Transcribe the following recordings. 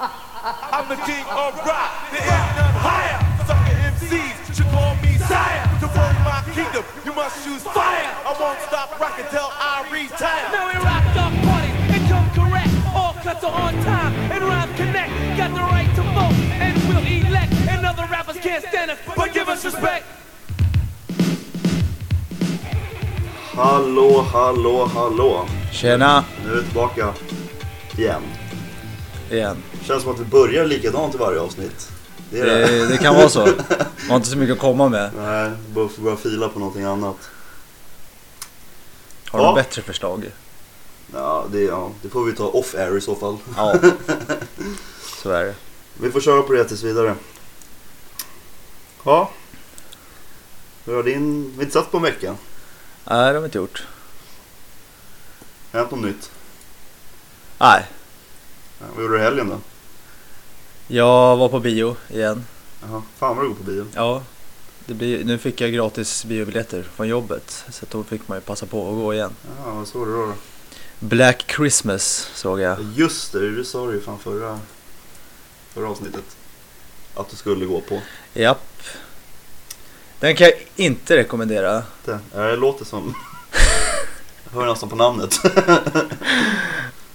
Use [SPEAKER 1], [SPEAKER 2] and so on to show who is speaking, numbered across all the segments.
[SPEAKER 1] I'm the king of rock, there ain't none higher. Sucker MCs should call me sire. To rule my kingdom, you must use fire. I won't stop rocking till I retire.
[SPEAKER 2] Now we rock dog parties and come correct. All cuts are on time and rhymes connect. Got the right to vote and we'll elect. And other rappers can't stand us, but give us respect.
[SPEAKER 3] Hallå, hallå, hallå.
[SPEAKER 4] Tjena!
[SPEAKER 3] Nu är vi tillbaka. Igen.
[SPEAKER 4] Igen.
[SPEAKER 3] Känns som att vi börjar likadant i varje avsnitt. Det är det.
[SPEAKER 4] Det, det kan vara så. Man har inte så mycket att komma med.
[SPEAKER 3] Nej, vi bör- får börja fila på någonting annat.
[SPEAKER 4] Har du
[SPEAKER 3] Ja.
[SPEAKER 4] bättre förslag?
[SPEAKER 3] Ja det, ja, det får vi ta off air i så fall.
[SPEAKER 4] Ja. Så är det.
[SPEAKER 3] Vi får köra på det tills vidare. Ja. Hur har din... Vi har inte satt på en vecka.
[SPEAKER 4] Nej, det har vi inte gjort.
[SPEAKER 3] Hänt något nytt?
[SPEAKER 4] Nej,
[SPEAKER 3] Ja, Vad gjorde du i helgen då?
[SPEAKER 4] jag var på bio igen.
[SPEAKER 3] Jaha, fan vad du går på bio.
[SPEAKER 4] Ja, det blir, nu fick jag gratis biobiljetter från jobbet. Så att då fick man ju passa på att gå igen.
[SPEAKER 3] Ja, vad såg du då? då?
[SPEAKER 4] Black Christmas såg jag.
[SPEAKER 3] Ja, Just det, du sa det ju fan förra, förra avsnittet. Att du skulle gå på.
[SPEAKER 4] Japp. Den kan jag inte rekommendera.
[SPEAKER 3] Det, ja, det låter som... Jag hör nästan på namnet.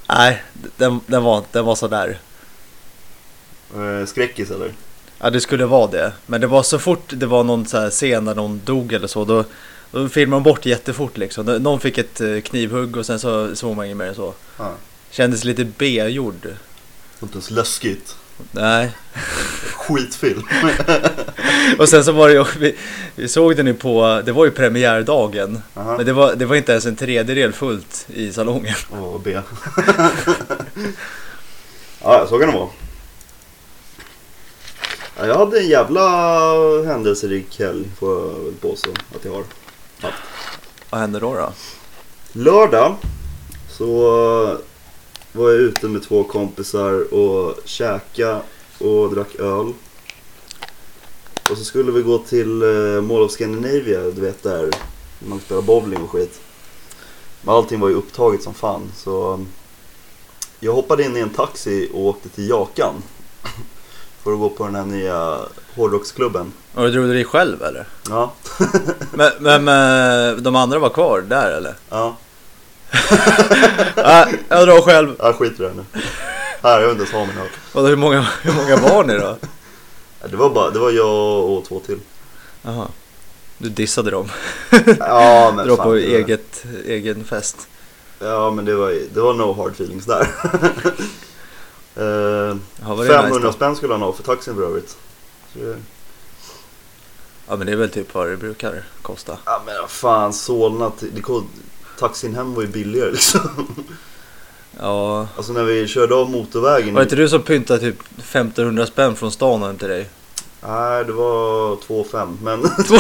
[SPEAKER 4] Nej, den, den, var, den var sådär.
[SPEAKER 3] Eh, Skräckis eller?
[SPEAKER 4] Ja det skulle vara det. Men det var så fort det var någon så här scen där någon dog eller så då, då filmade de bort jättefort liksom. Någon fick ett eh, knivhugg och sen så såg man inget mer än så.
[SPEAKER 3] Ja.
[SPEAKER 4] Kändes lite B-gjord.
[SPEAKER 3] Inte ens läskigt.
[SPEAKER 4] Nej.
[SPEAKER 3] Skitfilm.
[SPEAKER 4] Och sen så var det ju, vi, vi såg den ju på, det var ju premiärdagen.
[SPEAKER 3] Aha.
[SPEAKER 4] Men det var, det var inte ens en tredjedel fullt i salongen.
[SPEAKER 3] Åh, vad B. ja, så kan det vara. Ja, jag hade en jävla händelserik helg får jag väl påstå att jag har.
[SPEAKER 4] Vad hände då då?
[SPEAKER 3] Lördag så eh, var jag ute med två kompisar och käka och drack öl. Och så skulle vi gå till eh, Mall of Scandinavia, du vet där man spelar bowling och skit. Men allting var ju upptaget som fan så um, jag hoppade in i en taxi och åkte till Jakan. För att gå på den här nya hårdrocksklubben.
[SPEAKER 4] Och du drog dig själv eller?
[SPEAKER 3] Ja,
[SPEAKER 4] Men, men eh, de andra var kvar där eller?
[SPEAKER 3] ja,
[SPEAKER 4] Nej, jag drar själv.
[SPEAKER 3] jag skiter i det här nu. Här, jag vill inte ens ha min öl.
[SPEAKER 4] Vadå, hur många, hur många var ni då?
[SPEAKER 3] Ja, Det var, bara, det var jag och två till.
[SPEAKER 4] Jaha. Du dissade dem.
[SPEAKER 3] Ja men
[SPEAKER 4] Dra
[SPEAKER 3] fan,
[SPEAKER 4] på
[SPEAKER 3] det var-
[SPEAKER 4] eget, egen fest.
[SPEAKER 3] Ja men det var, det var no hard feelings där. Eh,
[SPEAKER 4] Ja, var det
[SPEAKER 3] 500
[SPEAKER 4] nice då?
[SPEAKER 3] spänn skulle han ha för taxin för övrigt. Så det-
[SPEAKER 4] Ja men det är väl typ vad det brukar kosta.
[SPEAKER 3] Ja men vad fan Solna, till- det kom, taxin hem var ju billigare liksom.
[SPEAKER 4] Ja.
[SPEAKER 3] Alltså när vi körde av motorvägen.
[SPEAKER 4] Var det inte du som pyntade typ 1500 spänn från stan hem till dig?
[SPEAKER 3] Nej det var 2,5 men,
[SPEAKER 4] Två,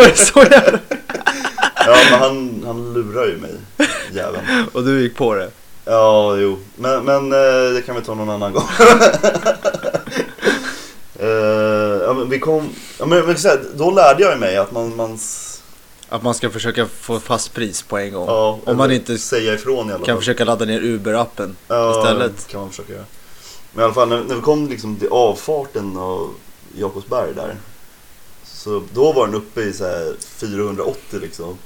[SPEAKER 4] var det så jävla?
[SPEAKER 3] ja, men han, han lurar ju mig. Jäveln.
[SPEAKER 4] Och du gick på det?
[SPEAKER 3] Ja, jo. Men, men eh, det kan vi ta någon annan gång. Eh, ja, men vi kom, ja, men, men, så här, då lärde jag mig att man, man s-
[SPEAKER 4] Att man ska försöka få fast pris på en gång.
[SPEAKER 3] ja,
[SPEAKER 4] Om man
[SPEAKER 3] eller
[SPEAKER 4] inte
[SPEAKER 3] säga ifrån i alla
[SPEAKER 4] kan
[SPEAKER 3] fall.
[SPEAKER 4] försöka ladda ner Uber-appen
[SPEAKER 3] ja,
[SPEAKER 4] istället.
[SPEAKER 3] kan man försöka göra. Men i alla fall när, när vi kom liksom till avfarten av Jakobsberg där. Så då var den uppe i så här 480 liksom.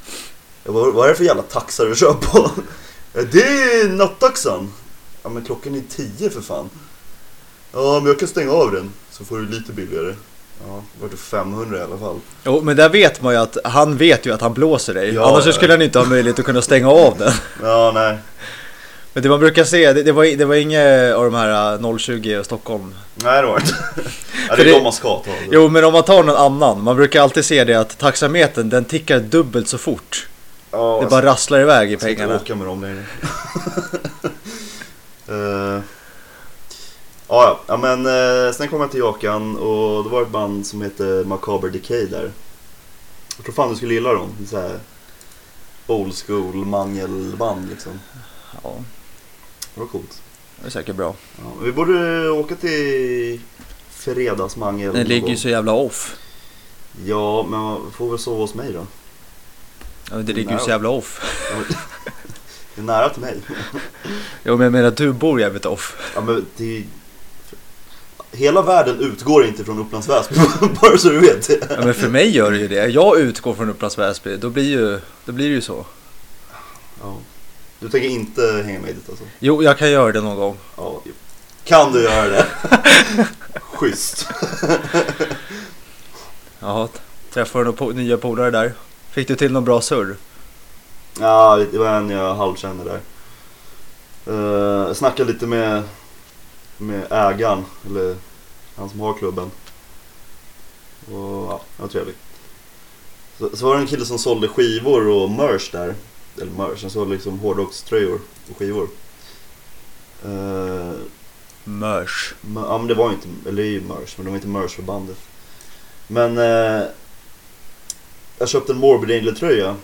[SPEAKER 3] Jag bara, vad är det för jävla taxa du kör på? "Ja, det är nattaxan. Ja men klockan är 10 för fan. Ja men jag kan stänga av den så får du lite billigare. Ja, det vart 500 i alla fall.
[SPEAKER 4] Jo men där vet man ju att han vet ju att han blåser dig.
[SPEAKER 3] Ja,
[SPEAKER 4] Annars så
[SPEAKER 3] ja.
[SPEAKER 4] skulle han inte ha möjlighet att kunna stänga av den.
[SPEAKER 3] Ja nej.
[SPEAKER 4] Men det man brukar se, det, det, var, det var inget av de här äh, 020 och Stockholm
[SPEAKER 3] Nej det var det inte. Ja,
[SPEAKER 4] För
[SPEAKER 3] det är
[SPEAKER 4] det-
[SPEAKER 3] de man ska ta.
[SPEAKER 4] Jo men om man tar någon annan, man brukar alltid se det att taxametern den tickar dubbelt så fort.
[SPEAKER 3] ja,
[SPEAKER 4] Det bara rasslar iväg i
[SPEAKER 3] Jag ska inte
[SPEAKER 4] pengarna.
[SPEAKER 3] åka med dem längre. uh, ja, ja. ja, men eh, sen kom jag till Jakan och det var ett band som heter Macabre Decay där. Jag tror fan du skulle gilla dem. Så här old school mangelband liksom.
[SPEAKER 4] Ja,
[SPEAKER 3] Det var coolt.
[SPEAKER 4] det är säkert bra.
[SPEAKER 3] Ja, men vi borde åka till fredagsmangel.
[SPEAKER 4] Den
[SPEAKER 3] någon
[SPEAKER 4] ligger
[SPEAKER 3] gång.
[SPEAKER 4] ju så jävla off.
[SPEAKER 3] Ja, men vi får väl sova hos mig då.
[SPEAKER 4] Ja, men det ligger ju så jävla off.
[SPEAKER 3] Ja, men- Det är nära till mig.
[SPEAKER 4] Jo men jag menar du bor jävligt off.
[SPEAKER 3] Ja, men det är... ju- Hela världen utgår inte från Upplands Väsby, bara så du vet.
[SPEAKER 4] Ja, men för mig gör det ju det. Jag utgår från Upplands Väsby, då blir, ju, då blir det ju så.
[SPEAKER 3] Ja. Du tänker inte hänga med dit alltså?
[SPEAKER 4] Jo, jag kan göra det någon gång.
[SPEAKER 3] Ja. Kan du göra det? Schysst.
[SPEAKER 4] Jaha, träffade några po- nya polare där. Fick du till någon bra surr?
[SPEAKER 3] Ja, det var en jag halvkänner där. Uh, snackade lite med, med ägaren, eller han som har klubben. Och ja, det var trevligt. Så, så var det en kille som sålde skivor och merch där. Eller merch, han sålde liksom hårdrockströjor och skivor. Eh,
[SPEAKER 4] Mörs.
[SPEAKER 3] men, ja men det var ju inte, eller det är ju merch, men det var inte merch för bandet. Men eh, jag köpte en Morbid Angel tröja.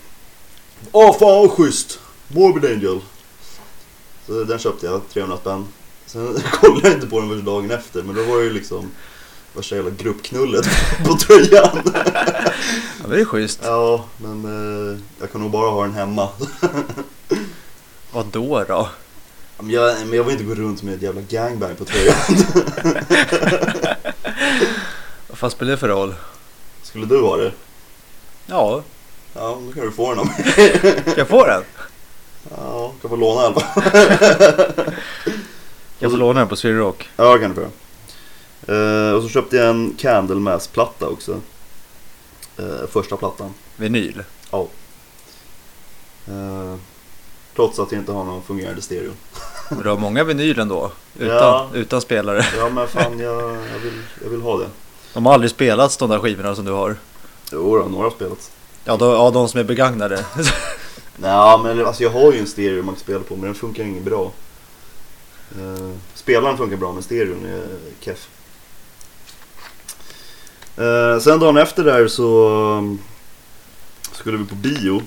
[SPEAKER 3] Åh fan vad schysst! Morbid Angel. Så den köpte jag, 300 spänn. Sen kollade jag inte på den förrän dagen efter, men då var det ju liksom värsta jävla gruppknullet på tröjan.
[SPEAKER 4] Ja, det är schysst.
[SPEAKER 3] Ja, men eh, jag kan nog bara ha den hemma.
[SPEAKER 4] Vad då då?
[SPEAKER 3] Ja, Men jag, men jag vill inte gå runt med ett jävla gangbang på tröjan.
[SPEAKER 4] Vad fan spelar det för roll?
[SPEAKER 3] Skulle du ha det?
[SPEAKER 4] Ja,
[SPEAKER 3] Ja, då kan du få den av mig.
[SPEAKER 4] kan jag få den?
[SPEAKER 3] Ja, kan få låna i alla fall.
[SPEAKER 4] Jag får låna den på Sweden
[SPEAKER 3] Ja, det kan du få göra. Eh, och så köpte jag en Candlemass-platta också. Eh, första plattan.
[SPEAKER 4] Vinyl.
[SPEAKER 3] Eh, trots att jag inte har någon fungerande stereo.
[SPEAKER 4] Men Du har många vinyl ändå. Utan,
[SPEAKER 3] Ja.
[SPEAKER 4] utan spelare.
[SPEAKER 3] Ja, men fan jag, jag, vill, jag vill ha det.
[SPEAKER 4] De har aldrig spelats de där skivorna som du har.
[SPEAKER 3] Jo, då, några har spelats.
[SPEAKER 4] Ja, de, ja, de som är begagnade.
[SPEAKER 3] Nej, men alltså, jag har ju en stereo man kan spela på, men den funkar ju inget bra. Eh, spelaren funkar bra, men stereon är keff. Eh, sen dagen efter där så um, skulle vi på bio.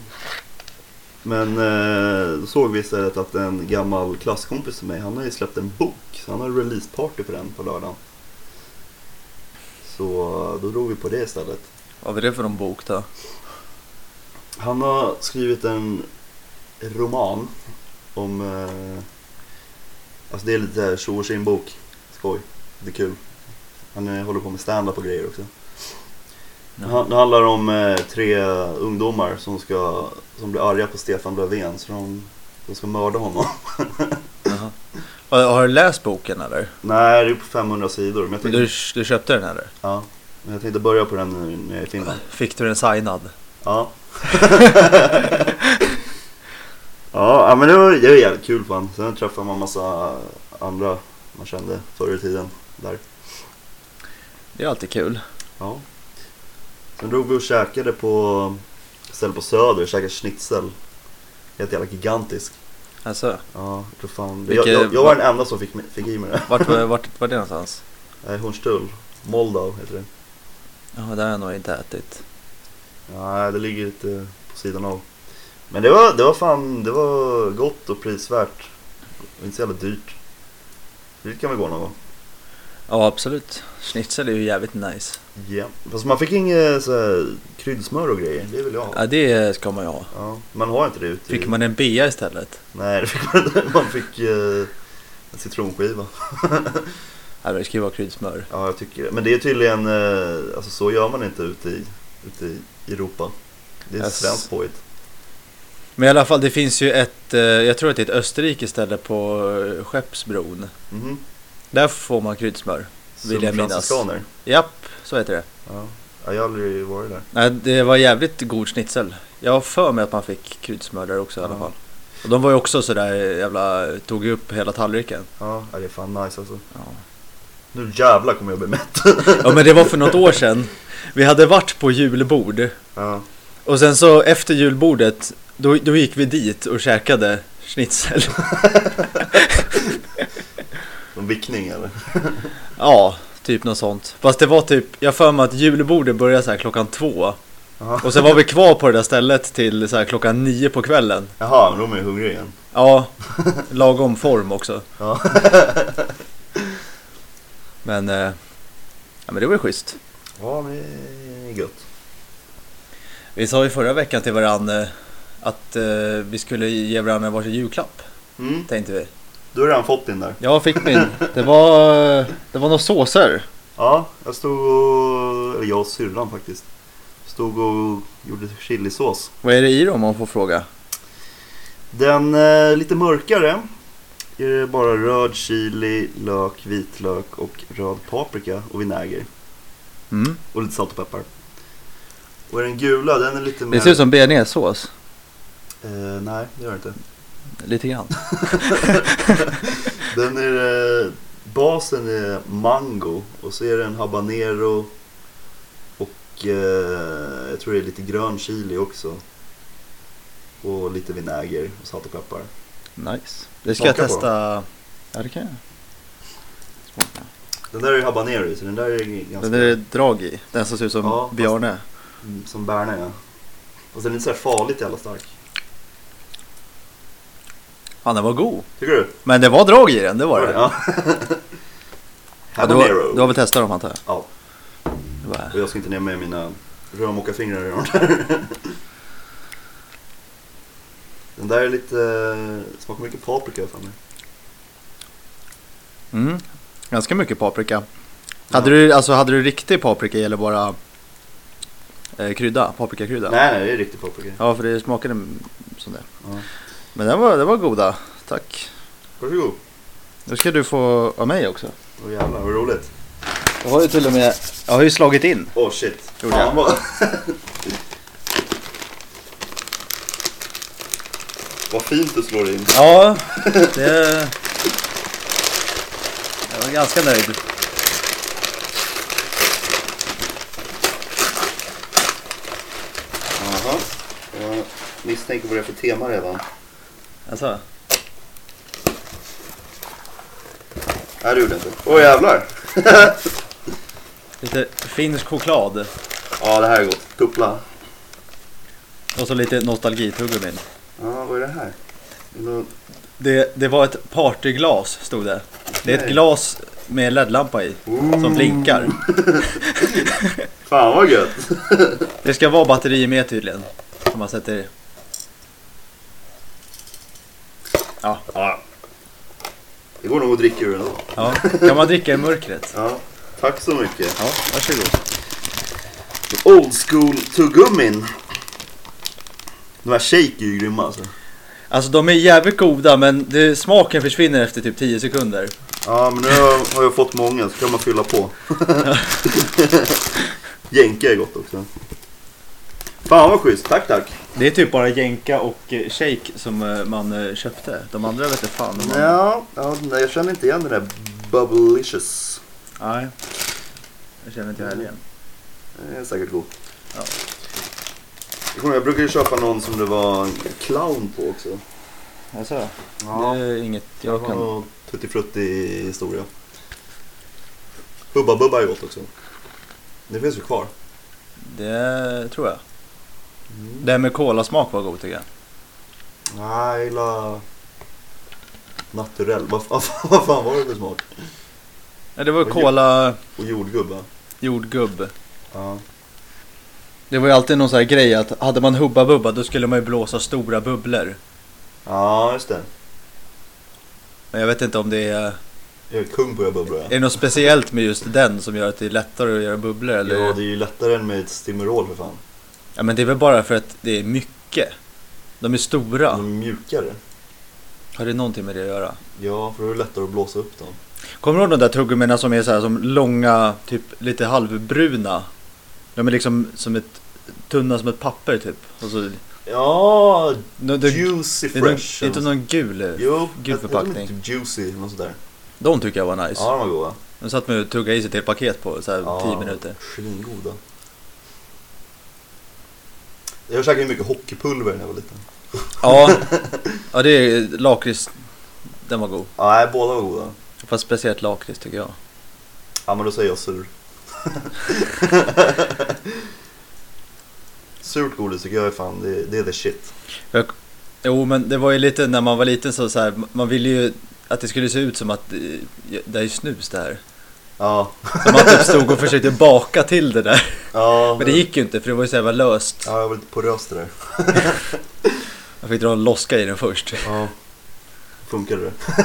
[SPEAKER 3] Men eh, då såg vi istället att en gammal klasskompis till mig, han har ju släppt en bok. Så han har releaseparty på den på lördagen. Så eh, då drog vi på det istället.
[SPEAKER 4] Vad är det för någon bok då?
[SPEAKER 3] Han har skrivit en roman om... Eh, alltså det är lite tjo och tjimbok. Skoj. Det är kul. Han eh, håller på med stand-up och grejer också. Han, det handlar om eh, tre ungdomar som, ska, som blir arga på Stefan Löfven. Så de, de ska mörda honom.
[SPEAKER 4] Har, har du läst boken eller?
[SPEAKER 3] Nej, det är på 500 sidor. Men jag
[SPEAKER 4] Du,
[SPEAKER 3] tänkte,
[SPEAKER 4] du köpte den eller?
[SPEAKER 3] ja, men jag tänkte börja på den nu när jag är i Finland.
[SPEAKER 4] Fick du den signad?
[SPEAKER 3] Ja. ja, ja, men det var, det var jävligt kul fan. Sen träffade man massa andra man kände förr i tiden där.
[SPEAKER 4] Det är alltid kul.
[SPEAKER 3] Ja. Sen drog vi och käkade på ställe på Söder, käkade schnitzel. Helt jävla gigantisk.
[SPEAKER 4] Alltså,
[SPEAKER 3] Ja, jag tror fan. Jag,
[SPEAKER 4] Vilket-
[SPEAKER 3] jag, jag var den enda som fick, med- fick i mig det.
[SPEAKER 4] vart, var- vart var det någonstans?
[SPEAKER 3] Nej, Hornstull. Moldau heter det.
[SPEAKER 4] Ja, det har jag nog inte ätit.
[SPEAKER 3] Nej, det ligger lite på sidan av. Men det var, det var fan, det var gott och prisvärt. Och inte så jävla dyrt. Dit kan vi gå någon gång.
[SPEAKER 4] Ja, absolut. Schnitzel är ju jävligt nice.
[SPEAKER 3] Ja. Fast man fick inget så här, kryddsmör och grejer, det vill jag ha.
[SPEAKER 4] Ja, det ska man ju ha.
[SPEAKER 3] Ja, man har inte det ute i-
[SPEAKER 4] Fick man en bea istället?
[SPEAKER 3] Nej, det fick man inte. Man fick eh, en citronskiva.
[SPEAKER 4] Nej, men det ska ju vara kryddsmör.
[SPEAKER 3] Ja, jag tycker det. Men det är tydligen, eh, alltså så gör man inte ute i, ute i Europa. Det är ett
[SPEAKER 4] Yes.
[SPEAKER 3] svenskt påhitt.
[SPEAKER 4] Men i alla fall, det finns ju ett, eh, jag tror att det är ett österrikiskt ställe på eh, Skeppsbron.
[SPEAKER 3] Mhm.
[SPEAKER 4] Där får man kryddsmör. Vill jag
[SPEAKER 3] Som
[SPEAKER 4] minnas.
[SPEAKER 3] fransiskaner.
[SPEAKER 4] Japp, så heter det.
[SPEAKER 3] Ja. Ja, jag har aldrig varit där.
[SPEAKER 4] Nej, det var jävligt god schnitzel. Jag har för mig att man fick kryddsmör där också i alla
[SPEAKER 3] Ja.
[SPEAKER 4] fall. Och de var ju också sådär jävla, tog ju upp hela tallriken.
[SPEAKER 3] Ja, ja, det är fan nice alltså.
[SPEAKER 4] Ja.
[SPEAKER 3] Nu jävlar kommer jag bli mätt.
[SPEAKER 4] Ja men det var för något år sedan. Vi hade varit på julbord
[SPEAKER 3] Ja.
[SPEAKER 4] och sen så efter julbordet då, då gick vi dit och käkade schnitzel.
[SPEAKER 3] Som vickning eller?
[SPEAKER 4] Ja, typ något sånt. Fast det var typ, jag har för mig att julbordet började så här klockan två.
[SPEAKER 3] Jaha.
[SPEAKER 4] Och sen var vi kvar på det där stället till så här klockan nio på kvällen.
[SPEAKER 3] Jaha, men då är man ju hungrig igen.
[SPEAKER 4] Ja, lagom form också.
[SPEAKER 3] Ja.
[SPEAKER 4] Men, eh, ja, men det var ju schysst.
[SPEAKER 3] Ja, men det är gött.
[SPEAKER 4] Vi sa ju förra veckan till varandra att eh, vi skulle ge varandra varsin julklapp.
[SPEAKER 3] Mm.
[SPEAKER 4] Tänkte vi.
[SPEAKER 3] Du har redan fått din där.
[SPEAKER 4] Jag fick min. Det var, det var några såser.
[SPEAKER 3] Ja, jag stod och... Eller jag och syrran faktiskt. Stod och gjorde chilisås.
[SPEAKER 4] Vad är det i dem om man får fråga?
[SPEAKER 3] Den eh, lite mörkare är det bara röd chili, lök, vitlök och röd paprika och vinäger.
[SPEAKER 4] Mm.
[SPEAKER 3] Och lite salt och peppar. Och den gula, den är lite mer...
[SPEAKER 4] Det ser ut som bearnaisesås.
[SPEAKER 3] Eh, nej, det gör det inte.
[SPEAKER 4] Lite grann.
[SPEAKER 3] Den är... Eh, basen är mango och så är det en habanero och eh, jag tror det är lite grön chili också. Och lite vinäger och salt och peppar.
[SPEAKER 4] Nice. Det ska
[SPEAKER 3] Smaka
[SPEAKER 4] jag
[SPEAKER 3] på
[SPEAKER 4] testa. Ja, det kan jag. Smaka.
[SPEAKER 3] Den där är habanero i, så den där är ganska...
[SPEAKER 4] Den där är drag i. Den som ser ut som
[SPEAKER 3] Ja, fast-
[SPEAKER 4] björne.
[SPEAKER 3] Mm, Som bärna ja. Och sen är det inte så här farligt jävla stark.
[SPEAKER 4] Fan den var god.
[SPEAKER 3] Tycker du?
[SPEAKER 4] Men det var drag i den, det var det.
[SPEAKER 3] Ja.
[SPEAKER 4] Ja, du, har,
[SPEAKER 3] Habanero.
[SPEAKER 4] du har väl testat dem antar jag?
[SPEAKER 3] Ja,
[SPEAKER 4] Det var-
[SPEAKER 3] och jag ska inte ner med mina rörmokarfingrar i dem. Den där är lite... eh, Smakar mycket paprika för mig.
[SPEAKER 4] Mm. Ganska mycket paprika. Hade, du, alltså, hade du riktig paprika eller bara eh, krydda? Paprikakrydda?
[SPEAKER 3] Nej, nej, det är riktigt paprika.
[SPEAKER 4] Ja, för det smakade m- som det.
[SPEAKER 3] Ja.
[SPEAKER 4] Men den var, den var goda. Tack.
[SPEAKER 3] Varsågod.
[SPEAKER 4] Nu ska du få av mig också.
[SPEAKER 3] Åh jävlar, vad roligt.
[SPEAKER 4] Jag har ju till och med jag har ju slagit in.
[SPEAKER 3] Åh oh, shit.
[SPEAKER 4] Gjorde jag.
[SPEAKER 3] Fan vad... vad fint du slår in.
[SPEAKER 4] Ja, det... Jag var ganska nöjd.
[SPEAKER 3] Jaha. Jag misstänker vad det är för tema redan.
[SPEAKER 4] Alltså,
[SPEAKER 3] Nej, det gjorde jag inte. Åh jävlar.
[SPEAKER 4] lite finsk choklad
[SPEAKER 3] Ja, det här är gott. Tuppla.
[SPEAKER 4] och så lite nostalgituggumin.
[SPEAKER 3] Ja, vad är det här? Det är någon-
[SPEAKER 4] Det, det var ett partyglas, stod det. Det är ett
[SPEAKER 3] Nej.
[SPEAKER 4] glas med LED-lampa i, som blinkar.
[SPEAKER 3] Fan vad gött!
[SPEAKER 4] Det ska vara batteri med tydligen, som man sätter i.
[SPEAKER 3] Ja. Det går nog att dricka ur ändå.
[SPEAKER 4] Ja, kan man dricka i mörkret?
[SPEAKER 3] Ja. Tack så mycket.
[SPEAKER 4] Ja, varsågod.
[SPEAKER 3] Old school tuggummin. De här shake är ju grymma alltså.
[SPEAKER 4] Alltså de är jävligt goda men det, smaken försvinner efter typ 10 sekunder.
[SPEAKER 3] Ja, men nu har- har jag fått många så kan man fylla på. Jänka är gott också. Fan vad schysst, tack tack.
[SPEAKER 4] Det är typ bara jänka och eh, shake som eh, man eh, köpte. De andra vet jag fan. om man-
[SPEAKER 3] Ja, ja, nej, jag känner inte igen den där Bubblicious.
[SPEAKER 4] Nej. Jag känner inte jag heller igen.
[SPEAKER 3] Det är säkert god.
[SPEAKER 4] Ja.
[SPEAKER 3] Jag kommer ihåg, Jag brukade ju köpa någon som det var en clown på också.
[SPEAKER 4] Alltså,
[SPEAKER 3] Ja.
[SPEAKER 4] Det är inget
[SPEAKER 3] Det
[SPEAKER 4] jag
[SPEAKER 3] var
[SPEAKER 4] kan...
[SPEAKER 3] någon tuttifrutti historia. Hubba Bubba är gott också. Det finns ju kvar.
[SPEAKER 4] Det tror jag. Det här med kolasmak var god tycker jag.
[SPEAKER 3] Nej, jag gillar naturell. Vad, vad, vad fan var det för smak?
[SPEAKER 4] Ja, det var
[SPEAKER 3] Och
[SPEAKER 4] kola
[SPEAKER 3] Och jordgubba.
[SPEAKER 4] jordgubb.
[SPEAKER 3] Ja.
[SPEAKER 4] Det var ju alltid någon sån här grej att hade man Hubba Bubba då skulle man ju blåsa stora bubblor.
[SPEAKER 3] ja, just det.
[SPEAKER 4] Men jag vet inte om det är...
[SPEAKER 3] Jag är kung på att göra bubblor.
[SPEAKER 4] Är
[SPEAKER 3] ja.
[SPEAKER 4] det något speciellt med just den som gör att det är lättare att göra bubblor? Eller?
[SPEAKER 3] Ja, det är ju lättare än med ett Stimmerol för fan.
[SPEAKER 4] Ja men det är väl bara för att det är mycket. De är stora.
[SPEAKER 3] De är mjukare.
[SPEAKER 4] Har det någonting med det att göra?
[SPEAKER 3] Ja, för då är det lättare att blåsa upp dem.
[SPEAKER 4] Kommer du ihåg de där tuggummina som är så här som långa, typ lite halvbruna? De är liksom som ett, tunna som ett papper typ. Och så,
[SPEAKER 3] Ja,
[SPEAKER 4] no, det,
[SPEAKER 3] Juicy
[SPEAKER 4] det är någon,
[SPEAKER 3] Fresh. alltså.
[SPEAKER 4] det är inte någon gul.
[SPEAKER 3] Jo,
[SPEAKER 4] gul
[SPEAKER 3] jag- jag tror
[SPEAKER 4] förpackning.
[SPEAKER 3] inte Juicy eller något sånt där.
[SPEAKER 4] De tycker jag var nice.
[SPEAKER 3] Ja, de var goda.
[SPEAKER 4] De satt man och tuggade i sig ett helt paket på så här 10
[SPEAKER 3] Ja,
[SPEAKER 4] minuter.
[SPEAKER 3] Svingoda. Jag käkade ju mycket hockeypulver när jag var liten.
[SPEAKER 4] Ja, ja det är lakrits. Den var god.
[SPEAKER 3] Ja, nej, båda var goda.
[SPEAKER 4] Fast speciellt lakrits tycker jag.
[SPEAKER 3] Ja, men då säger jag sur. Surt godis tycker jag är fan, det, det är the shit.
[SPEAKER 4] Jag, jo men det var ju lite när man var liten så, så här, man ville ju att det skulle se ut som att eh, det är ju snus det här.
[SPEAKER 3] Ja.
[SPEAKER 4] Så man typ stod och försökte baka till det där.
[SPEAKER 3] ja
[SPEAKER 4] Men det gick ju inte för det var ju så jävla löst.
[SPEAKER 3] Ja, jag var lite porös det där.
[SPEAKER 4] fick dra en loska i den först.
[SPEAKER 3] Ja. Funkade det?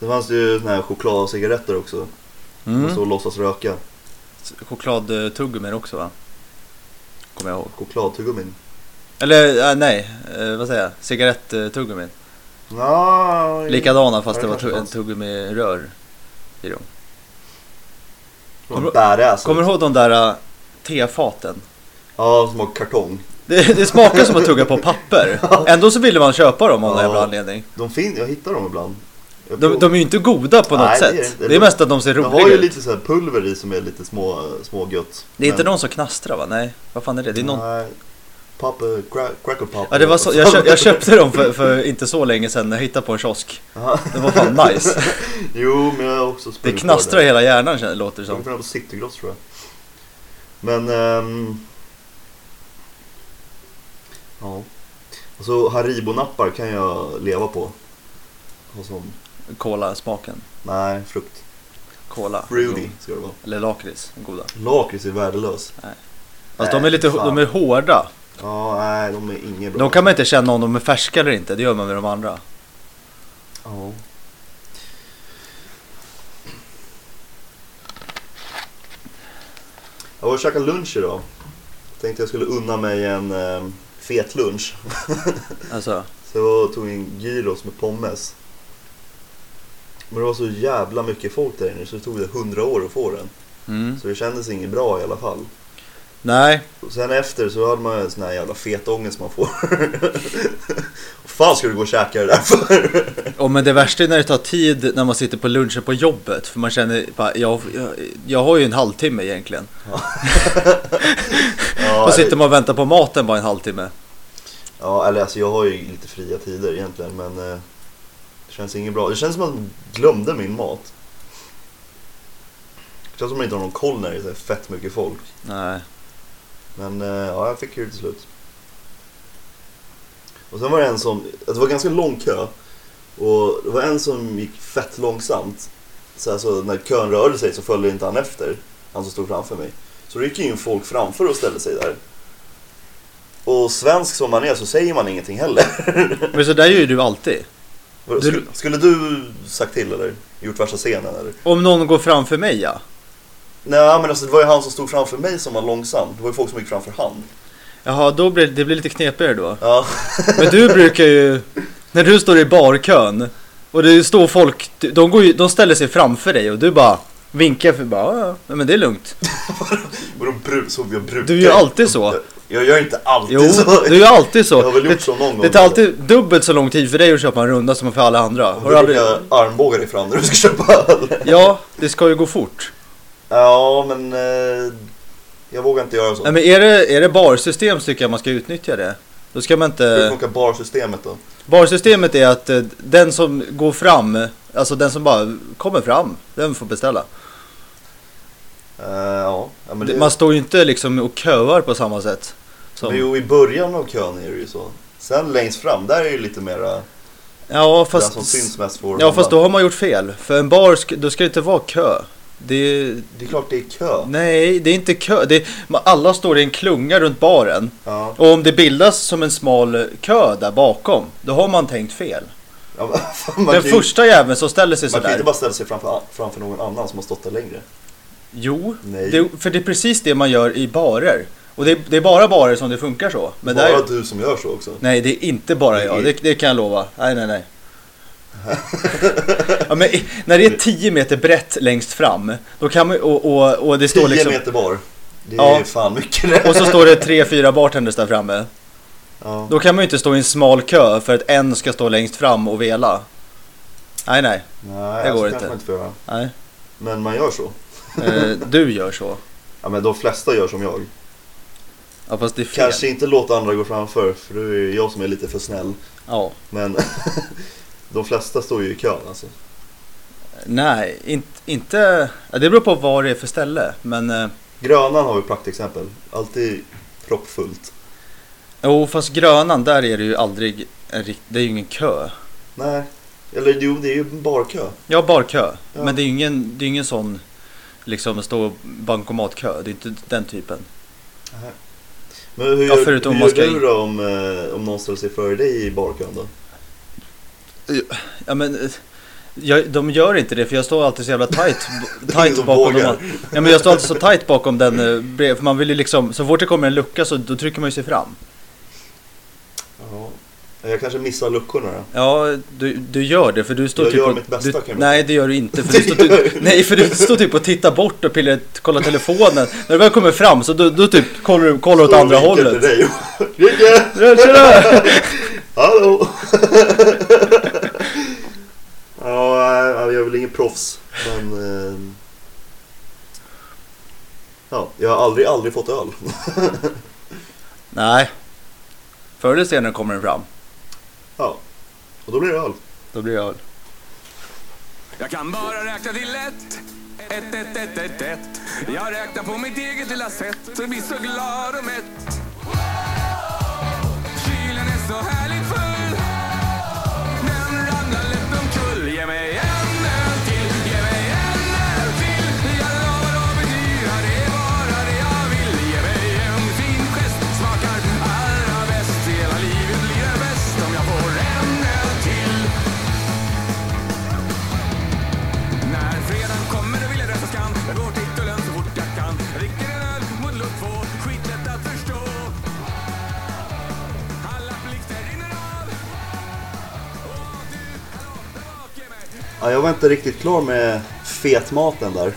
[SPEAKER 3] Sen fanns det ju såna här chokladcigaretter också. Man
[SPEAKER 4] Mm.
[SPEAKER 3] stod och låtsas röka.
[SPEAKER 4] Chokladtuggummin också va? Kommer jag ihåg.
[SPEAKER 3] Chokladtuggummin.
[SPEAKER 4] Eller äh, nej, eh, vad säger jag? Cigaretttuggummin.
[SPEAKER 3] Ja,
[SPEAKER 4] Likadana
[SPEAKER 3] Ja,
[SPEAKER 4] fast det
[SPEAKER 3] det
[SPEAKER 4] var
[SPEAKER 3] kanske
[SPEAKER 4] tu- en
[SPEAKER 3] fanns.
[SPEAKER 4] tuggummirör i dem. Kommer-
[SPEAKER 3] Badass.
[SPEAKER 4] Kommer du ihåg de där äh, tefaten?
[SPEAKER 3] Ja, som har kartong.
[SPEAKER 4] Det, det smakar som att tugga på papper. Ändå så ville man köpa dem av någon
[SPEAKER 3] Ja.
[SPEAKER 4] jävla anledning.
[SPEAKER 3] De finns, jag hittar dem ibland. Jag
[SPEAKER 4] De,
[SPEAKER 3] prov-
[SPEAKER 4] de är ju inte goda på något
[SPEAKER 3] Nej, det är
[SPEAKER 4] sätt.
[SPEAKER 3] det
[SPEAKER 4] Det
[SPEAKER 3] inte.
[SPEAKER 4] är, mest att de ser
[SPEAKER 3] de har
[SPEAKER 4] roliga
[SPEAKER 3] ju
[SPEAKER 4] ut.
[SPEAKER 3] lite så här pulver i som är lite små, små gött.
[SPEAKER 4] Det är inte
[SPEAKER 3] Men-
[SPEAKER 4] någon som knastrar va? Nej, vad fan är det? Det är någon...
[SPEAKER 3] Nej. Pop, eh, crack, cracker pop.
[SPEAKER 4] Ja, det var så, jag, köp, jag köpte dem för, för inte så länge sedan när jag hittade på en kiosk.
[SPEAKER 3] Aha.
[SPEAKER 4] Det var fan nice.
[SPEAKER 3] Jo, men jag har också
[SPEAKER 4] Det
[SPEAKER 3] sprungit på
[SPEAKER 4] knastrar i liksom. hela hjärnan känner- låter det
[SPEAKER 3] Jag
[SPEAKER 4] som.
[SPEAKER 3] kommer på Citygross tror jag. Men... ehm, ja. Och så Haribo-nappar kan jag leva på. Och som,
[SPEAKER 4] Cola-smaken.
[SPEAKER 3] nej, frukt.
[SPEAKER 4] Cola.
[SPEAKER 3] Fruity ska det vara.
[SPEAKER 4] Eller lakrits, goda.
[SPEAKER 3] Lakrits är värdelös.
[SPEAKER 4] Fast de är lite
[SPEAKER 3] fan.
[SPEAKER 4] de är hårda.
[SPEAKER 3] Ja, nej, de är inget bra.
[SPEAKER 4] De kan man inte känna om de är färska eller inte, det gör man med de andra.
[SPEAKER 3] Ja. Jag var och käkade lunch idag. Tänkte jag skulle unna mig en ehm, fet lunch.
[SPEAKER 4] Alltså,
[SPEAKER 3] Så jag tog en gyros med pommes. Men det var så jävla mycket folk där inne så det tog det hundra år att få den.
[SPEAKER 4] mm.
[SPEAKER 3] Så det kändes inget bra i alla fall.
[SPEAKER 4] Nej,
[SPEAKER 3] Och sen efter så hade man en sån här jävla fet ångest man får. Vad fan ska du gå och käka det där för?
[SPEAKER 4] och men det värsta är när det tar tid när man sitter på lunchen på jobbet. För man känner, bara, jag, jag, jag har ju en halvtimme egentligen.
[SPEAKER 3] Ja,
[SPEAKER 4] Och
[SPEAKER 3] eller,
[SPEAKER 4] sitter man och väntar på maten bara en halvtimme.
[SPEAKER 3] ja, eller alltså jag har ju lite fria tider egentligen men eh, det känns inget bra. Det känns som att jag glömde min mat. Det känns som att man inte har någon koll när det är så här fett mycket folk.
[SPEAKER 4] Nej.
[SPEAKER 3] Men eh, ja, jag fick ju det till slut. Och sen var det en som, det var ganska lång kö. Och det var en som gick fett långsamt. Så alltså, när kön rörde sig så följde inte han efter, han som stod framför mig. Så det gick ju in folk framför och ställde sig där. Och svensk som man är så säger man ingenting heller.
[SPEAKER 4] Men så där gör ju du alltid.
[SPEAKER 3] Vadå,
[SPEAKER 4] Du-
[SPEAKER 3] skulle, skulle du sagt till eller? Gjort värsta scenen eller?
[SPEAKER 4] Om någon går framför mig ja.
[SPEAKER 3] Nej men alltså det var ju han som stod framför mig som var långsam. Det var ju folk som gick framför han.
[SPEAKER 4] Jaha, då blir det blir lite knepigare då.
[SPEAKER 3] Ja.
[SPEAKER 4] Men du brukar ju, när du står i barkön och det står folk, de, går ju, de ställer sig framför dig och du bara vinkar för bara, "Ja, ja, nej, men det är lugnt.
[SPEAKER 3] Vadå bru- så jag brukar?
[SPEAKER 4] Du gör alltid så.
[SPEAKER 3] Jag gör inte alltid
[SPEAKER 4] Jo,
[SPEAKER 3] så.
[SPEAKER 4] du gör alltid
[SPEAKER 3] Jag har
[SPEAKER 4] så.
[SPEAKER 3] väl gjort
[SPEAKER 4] Det,
[SPEAKER 3] så någon gång.
[SPEAKER 4] det tar alltid dubbelt så lång tid för dig att köpa en runda som för alla andra.
[SPEAKER 3] Du
[SPEAKER 4] Har du
[SPEAKER 3] brukar
[SPEAKER 4] aldrig...
[SPEAKER 3] armbåga dig fram när du ska köpa öl.
[SPEAKER 4] Ja, det ska ju gå fort.
[SPEAKER 3] Ja, men eh, jag vågar inte göra så.
[SPEAKER 4] Nej men är det, är det barsystem så tycker jag man ska utnyttja det. Då ska man
[SPEAKER 3] Hur
[SPEAKER 4] inte...
[SPEAKER 3] funkar barsystemet då?
[SPEAKER 4] Barsystemet är att eh, den som går fram, alltså den som bara kommer fram, den får beställa.
[SPEAKER 3] Eh, ja, ja, men det,
[SPEAKER 4] Man står ju inte liksom och köar på samma sätt.
[SPEAKER 3] men
[SPEAKER 4] Som,
[SPEAKER 3] jo, i början av kön är det ju så. Sen längst fram, där är ju lite mera
[SPEAKER 4] ja
[SPEAKER 3] den som
[SPEAKER 4] fast,
[SPEAKER 3] syns mest får
[SPEAKER 4] ja
[SPEAKER 3] handla.
[SPEAKER 4] fast då har man gjort fel. För en bar, sk- då ska det inte vara kö. Det är,
[SPEAKER 3] Det är klart det är kö.
[SPEAKER 4] nej, det är inte kö. Det är, man- alla står i en klunga runt baren.
[SPEAKER 3] Ja,
[SPEAKER 4] Och om det bildas som en smal eh, kö där bakom, då har man tänkt fel.
[SPEAKER 3] ja, men fan, man,
[SPEAKER 4] Den
[SPEAKER 3] kan ju,
[SPEAKER 4] första jäveln som ställer sig
[SPEAKER 3] man kan ju inte
[SPEAKER 4] sådär.
[SPEAKER 3] bara ställa sig framför, framför någon annan som har stått där längre.
[SPEAKER 4] Jo,
[SPEAKER 3] Nej.
[SPEAKER 4] det, för det är precis det man gör i barer. Och det, är- det är bara barer som det funkar så. Men
[SPEAKER 3] bara
[SPEAKER 4] där,
[SPEAKER 3] du som gör så också.
[SPEAKER 4] Nej, det är inte bara jag. Det, det kan jag lova. Nej, nej, nej. ja, men i- när det är 10 meter brett längst fram, då kan man, och, och, och
[SPEAKER 3] 10
[SPEAKER 4] det står liksom...
[SPEAKER 3] meter bar. Det är
[SPEAKER 4] Ja.
[SPEAKER 3] fan mycket det.
[SPEAKER 4] Och så står det tre, fyra bartenders där framme.
[SPEAKER 3] Ja.
[SPEAKER 4] Då kan man ju inte stå i en smal kö för att en ska stå längst fram och vela. Nej, nej.
[SPEAKER 3] Nej,
[SPEAKER 4] Det går
[SPEAKER 3] alltså,
[SPEAKER 4] inte.
[SPEAKER 3] kanske man inte får göra.
[SPEAKER 4] nej.
[SPEAKER 3] Men man gör så.
[SPEAKER 4] Eh, du gör så.
[SPEAKER 3] Ja, men de flesta gör som jag.
[SPEAKER 4] Ja, fast det är fel.
[SPEAKER 3] Kanske inte låta andra gå framför, för då är det jag som är lite för snäll.
[SPEAKER 4] Ja.
[SPEAKER 3] Men de flesta står ju i kön alltså.
[SPEAKER 4] Nej, inte... inte ja, det beror på vad det är för ställe, men... eh,
[SPEAKER 3] Grönan har vi praktexempel. Alltid proppfullt.
[SPEAKER 4] Jo, fast Grönan, där är det ju aldrig... En, rikt- det är ju ingen kö.
[SPEAKER 3] Nej, eller jo, det är ju en barkö.
[SPEAKER 4] Ja, barkö.
[SPEAKER 3] Ja.
[SPEAKER 4] Men det är ju ingen, det är ingen sån liksom stå bankomatkö. Det är inte den typen.
[SPEAKER 3] Men hur
[SPEAKER 4] Ja,
[SPEAKER 3] gör,
[SPEAKER 4] förutom
[SPEAKER 3] hur
[SPEAKER 4] man
[SPEAKER 3] gör
[SPEAKER 4] ska-
[SPEAKER 3] du då om, eh, om någon ställer sig före dig i barkön då?
[SPEAKER 4] Ja, men, eh, jag, de gör inte det för jag står alltid så jävla tight, b-
[SPEAKER 3] ingen
[SPEAKER 4] tight
[SPEAKER 3] som
[SPEAKER 4] bakom
[SPEAKER 3] vågar.
[SPEAKER 4] dem. Ja, men jag står alltid så tight bakom den, eh, brev- för man vill ju liksom, så fort det kommer en lucka så då trycker man ju sig fram.
[SPEAKER 3] Ja. Jag kanske missar luckorna då.
[SPEAKER 4] Ja, du, du gör det för du står
[SPEAKER 3] Jag
[SPEAKER 4] typ
[SPEAKER 3] gör
[SPEAKER 4] och,
[SPEAKER 3] mitt bästa,
[SPEAKER 4] du,
[SPEAKER 3] kan jag
[SPEAKER 4] Nej, det gör du inte. För du står, typ- nej, för du står typ och tittar bort och pillar, kollar telefonen. När du väl kommer fram så då, då typ kollar du kollar åt
[SPEAKER 3] Står och
[SPEAKER 4] andra
[SPEAKER 3] vinkar till
[SPEAKER 4] hållet.
[SPEAKER 3] dig och- Jocke!
[SPEAKER 4] Tjena, tjena!
[SPEAKER 3] Hallå! ja, eh, jag är väl ingen proffs. Men... eh, Ja, jag har aldrig, aldrig fått öl.
[SPEAKER 4] Nej. Förr eller senare kommer den fram.
[SPEAKER 3] Ja. Och då blir det öl.
[SPEAKER 4] Då blir jag...
[SPEAKER 5] Jag kan bara räkna till ett. Ett, ett, ett, ett, ett. Jag räknar på mitt eget lilla sätt och blir så glad och mätt. Kylen är så härligt full. Den ramlar lätt omkull. Ge mig en öl till, ge mig en öl till. Jag lovar att betyda det är bara det jag vill. Ge mig en fin gest, smakar allra bäst. Hela livet blir det bäst om jag får en öl till. När fredagen kommer vill jag resa skam Jag går till tullen så fort jag kan Dricker en öl mot luft två, skitlätt att förstå Alla blixtar rinner av Åh du, hallå, där bak, ge mig
[SPEAKER 3] Ja, jag var inte riktigt klar med fetmaten där.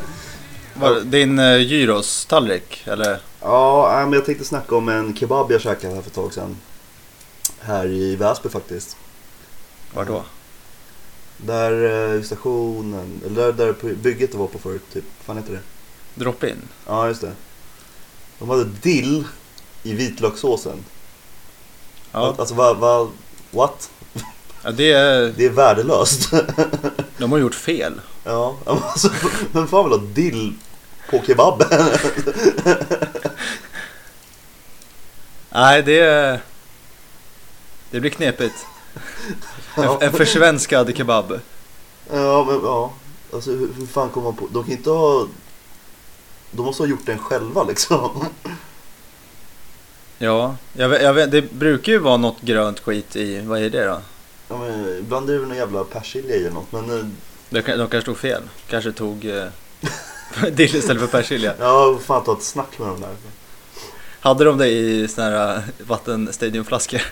[SPEAKER 4] Var, din uh, gyros-tallrik, eller?
[SPEAKER 3] Ja, äh, men jag tänkte snacka om en kebab jag käkade här för ett tag sedan. Här i Väsby faktiskt.
[SPEAKER 4] Var
[SPEAKER 3] Mm.
[SPEAKER 4] då?
[SPEAKER 3] Där eh, vid stationen, eller där, där bygget var på förut, typ. fan heter det?
[SPEAKER 4] Drop-in?
[SPEAKER 3] Ja, just det. De hade dill i vitlökssåsen.
[SPEAKER 4] Ja.
[SPEAKER 3] Alltså, vad, vad, what?
[SPEAKER 4] ja, det är...
[SPEAKER 3] Det är värdelöst.
[SPEAKER 4] De har gjort fel.
[SPEAKER 3] ja, men alltså, vem fan vill ha dill på kebab?
[SPEAKER 4] Nej, det... är- Det blir knepigt.
[SPEAKER 3] Ja.
[SPEAKER 4] En, en försvenskad kebab.
[SPEAKER 3] Ja, men ja. Alltså hur, hur fan kommer man på? De kan inte ha... De måste ha gjort den själva liksom.
[SPEAKER 4] Ja, jag, vet- jag, vet- det brukar ju vara något grönt skit i, vad är det då?
[SPEAKER 3] Ja, men, ibland är det väl någon jävla persilja i eller något. Men eh,
[SPEAKER 4] De, kan- de kanske tog fel, kanske tog eh, dill istället för persilja.
[SPEAKER 3] ja, fan ta ett snack med dem där.
[SPEAKER 4] Hade de det i såna här eh, vattenstadionflaskor?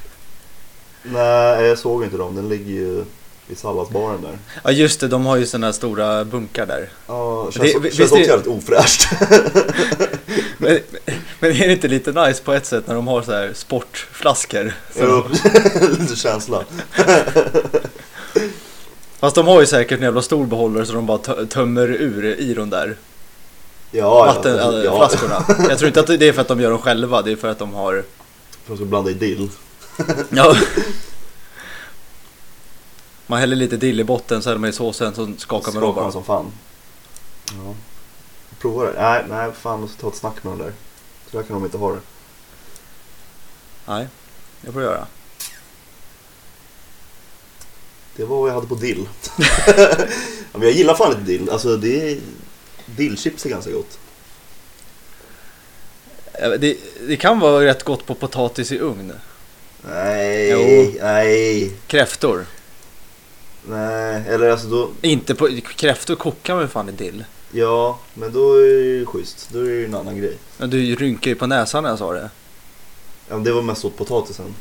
[SPEAKER 3] Nej, jag såg inte dem. Den ligger ju i salladsbaren där.
[SPEAKER 4] Ja just det, de har ju såna här stora bunkar där.
[SPEAKER 3] Ja, känns,
[SPEAKER 4] Det- vi-
[SPEAKER 3] känns
[SPEAKER 4] visst
[SPEAKER 3] också
[SPEAKER 4] är-
[SPEAKER 3] jävligt ofräscht.
[SPEAKER 4] Men, men är det inte lite nice på ett sätt när de har så här sportflaskor?
[SPEAKER 3] Jo, Lite känsla.
[SPEAKER 4] Fast de har ju säkert en jävla stor behållare så de bara tö- tömmer ur i de där
[SPEAKER 3] Ja,
[SPEAKER 4] äh,
[SPEAKER 3] ja, ja.
[SPEAKER 4] vattenflaskorna. Jag tror inte att det är för att de gör dem själva, det är för att de har...
[SPEAKER 3] De ska blanda i dill.
[SPEAKER 4] Ja. Man häller lite dill i botten, så häller man i såsen, så skakar
[SPEAKER 3] Skakar
[SPEAKER 4] man om
[SPEAKER 3] man
[SPEAKER 4] bara.
[SPEAKER 3] som fan. Ja. Prova det. Nej, nej, fan måste ta ett snack med dem där. Så där kan de inte ha det.
[SPEAKER 4] Nej, det får jag göra.
[SPEAKER 3] Det var vad jag hade på dill. ja, men jag gillar fan inte dill. Alltså det är... Dillchips är ganska gott.
[SPEAKER 4] Eh, Det, det kan vara rätt gott på potatis i ugn.
[SPEAKER 3] Nej,
[SPEAKER 4] Jo.
[SPEAKER 3] nej,
[SPEAKER 4] Kräftor.
[SPEAKER 3] nej. Eller alltså då...
[SPEAKER 4] Inte på, kräftor kokar man ju fan i dill.
[SPEAKER 3] Ja, men då är det ju schysst. Då är det ju en annan grej.
[SPEAKER 4] Men Du rynkar ju på näsan när jag sa det.
[SPEAKER 3] Ja, men det var mest åt potatisen.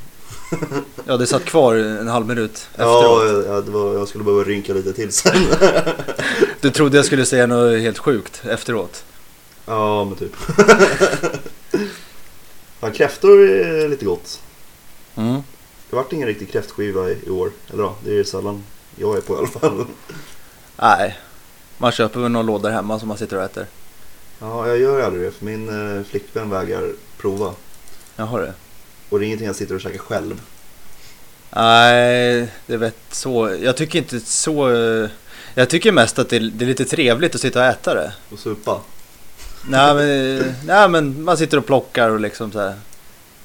[SPEAKER 4] Ja, det satt kvar en halv minut
[SPEAKER 3] Ja,
[SPEAKER 4] efteråt.
[SPEAKER 3] jag, jag, det var, jag skulle behöva rynka lite till sen.
[SPEAKER 4] Du trodde jag skulle säga något helt sjukt efteråt.
[SPEAKER 3] ja, men typ. Fan, kräftor är lite gott.
[SPEAKER 4] Mm.
[SPEAKER 3] Det vart ingen riktig kräftskiva i, i år. Eller ja, det är sällan jag är på i alla fall.
[SPEAKER 4] Nej, man köper väl någon låda där hemma som man sitter och äter.
[SPEAKER 3] Ja, jag gör aldrig det för min eh, flickvän vägrar prova.
[SPEAKER 4] Jaha du.
[SPEAKER 3] Och det är ingenting jag sitter och käkar själv.
[SPEAKER 4] Nej, det vet så. Jag tycker inte så. eh, Jag tycker mest att det är, det är lite trevligt att sitta och äta det.
[SPEAKER 3] Och supa.
[SPEAKER 4] Nej men, eh, nej, men man sitter och plockar och liksom så här.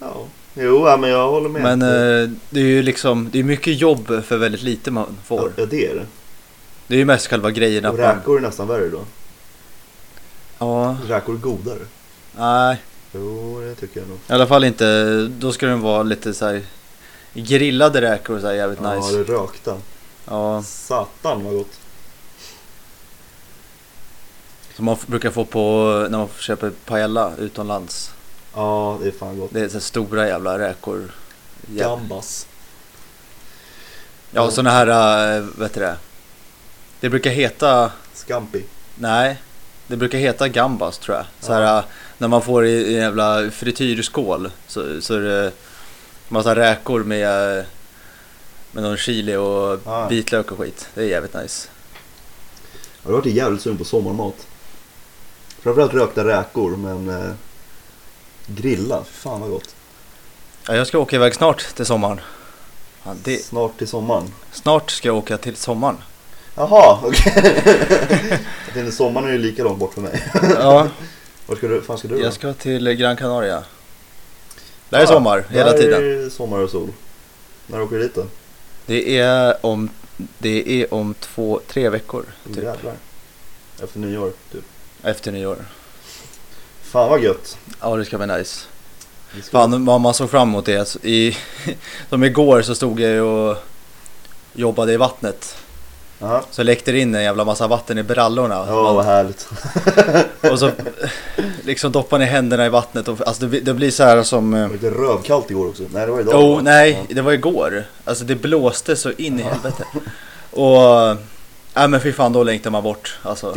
[SPEAKER 3] Ja, jo, ja, men jag håller med.
[SPEAKER 4] Men eh, det är ju liksom, det är mycket jobb för väldigt lite man får.
[SPEAKER 3] Ja, det är det.
[SPEAKER 4] Det är ju mest själva grejen
[SPEAKER 3] Och
[SPEAKER 4] att man...
[SPEAKER 3] räkor är nästan värre då.
[SPEAKER 4] Ja,
[SPEAKER 3] Räkor är godare.
[SPEAKER 4] nej.
[SPEAKER 3] Jo, det tycker jag nog.
[SPEAKER 4] I alla fall inte, då ska den vara lite så här grillade räkor och så här jävligt nice.
[SPEAKER 3] Ja, det rökta.
[SPEAKER 4] Ja,
[SPEAKER 3] Satan vad gott.
[SPEAKER 4] som man f- brukar få på när man köper paella utomlands.
[SPEAKER 3] Ja, det är fan gott.
[SPEAKER 4] Det är så här stora jävla räkor. Ja,
[SPEAKER 3] Gambas.
[SPEAKER 4] ja sådana här, äh, vet du det? Det brukar heta,
[SPEAKER 3] Scampi.
[SPEAKER 4] nej, det brukar heta gambas tror jag. Så här, äh, när man får i i en jävla frityrskål så, så är det massa räkor med, äh, med någon chili och
[SPEAKER 3] Ja.
[SPEAKER 4] vitlök och skit. Det är jävligt nice.
[SPEAKER 3] Jag har varit jävligt sugen på sommarmat. Framförallt rökta räkor, men eh, grilla. Fy Fan vad gott.
[SPEAKER 4] Ja, jag ska åka iväg snart till sommaren. Fan, det,
[SPEAKER 3] Snart till sommaren.
[SPEAKER 4] snart ska jag åka till sommaren.
[SPEAKER 3] Jaha, okej. Jag tänkte, sommaren är ju lika långt bort för mig.
[SPEAKER 4] Ja,
[SPEAKER 3] Var ska du, fan ska du då?
[SPEAKER 4] jag ska till Gran Canaria. Där är
[SPEAKER 3] Ah,
[SPEAKER 4] sommar hela
[SPEAKER 3] där
[SPEAKER 4] tiden.
[SPEAKER 3] är sommar och sol. När åker du dit då?
[SPEAKER 4] Det är om, det är om två, tre veckor
[SPEAKER 3] Åh,
[SPEAKER 4] typ,
[SPEAKER 3] Jävlar. Efter nyår, typ.
[SPEAKER 4] efter nyår.
[SPEAKER 3] Fan vad gött.
[SPEAKER 4] Ja, det ska bli nice.
[SPEAKER 3] Vi ska-
[SPEAKER 4] Fan vad man såg fram emot det. Alltså, I, som igår så stod jag ju och jobbade i vattnet.
[SPEAKER 3] Jaha.
[SPEAKER 4] Så läckte det in en jävla massa vatten i brallorna.
[SPEAKER 3] Ja, vad härligt.
[SPEAKER 4] Och så liksom doppar ni händerna i vattnet. Och, alltså det, det blir så här som... eh,
[SPEAKER 3] Det var lite rövkallt igår också. Nej, det var idag.
[SPEAKER 4] Jo,
[SPEAKER 3] va?
[SPEAKER 4] nej,
[SPEAKER 3] Ja.
[SPEAKER 4] det var igår. Alltså det blåste så in i helvete. Och... Nej men fy fan, då längtar man bort. Alltså,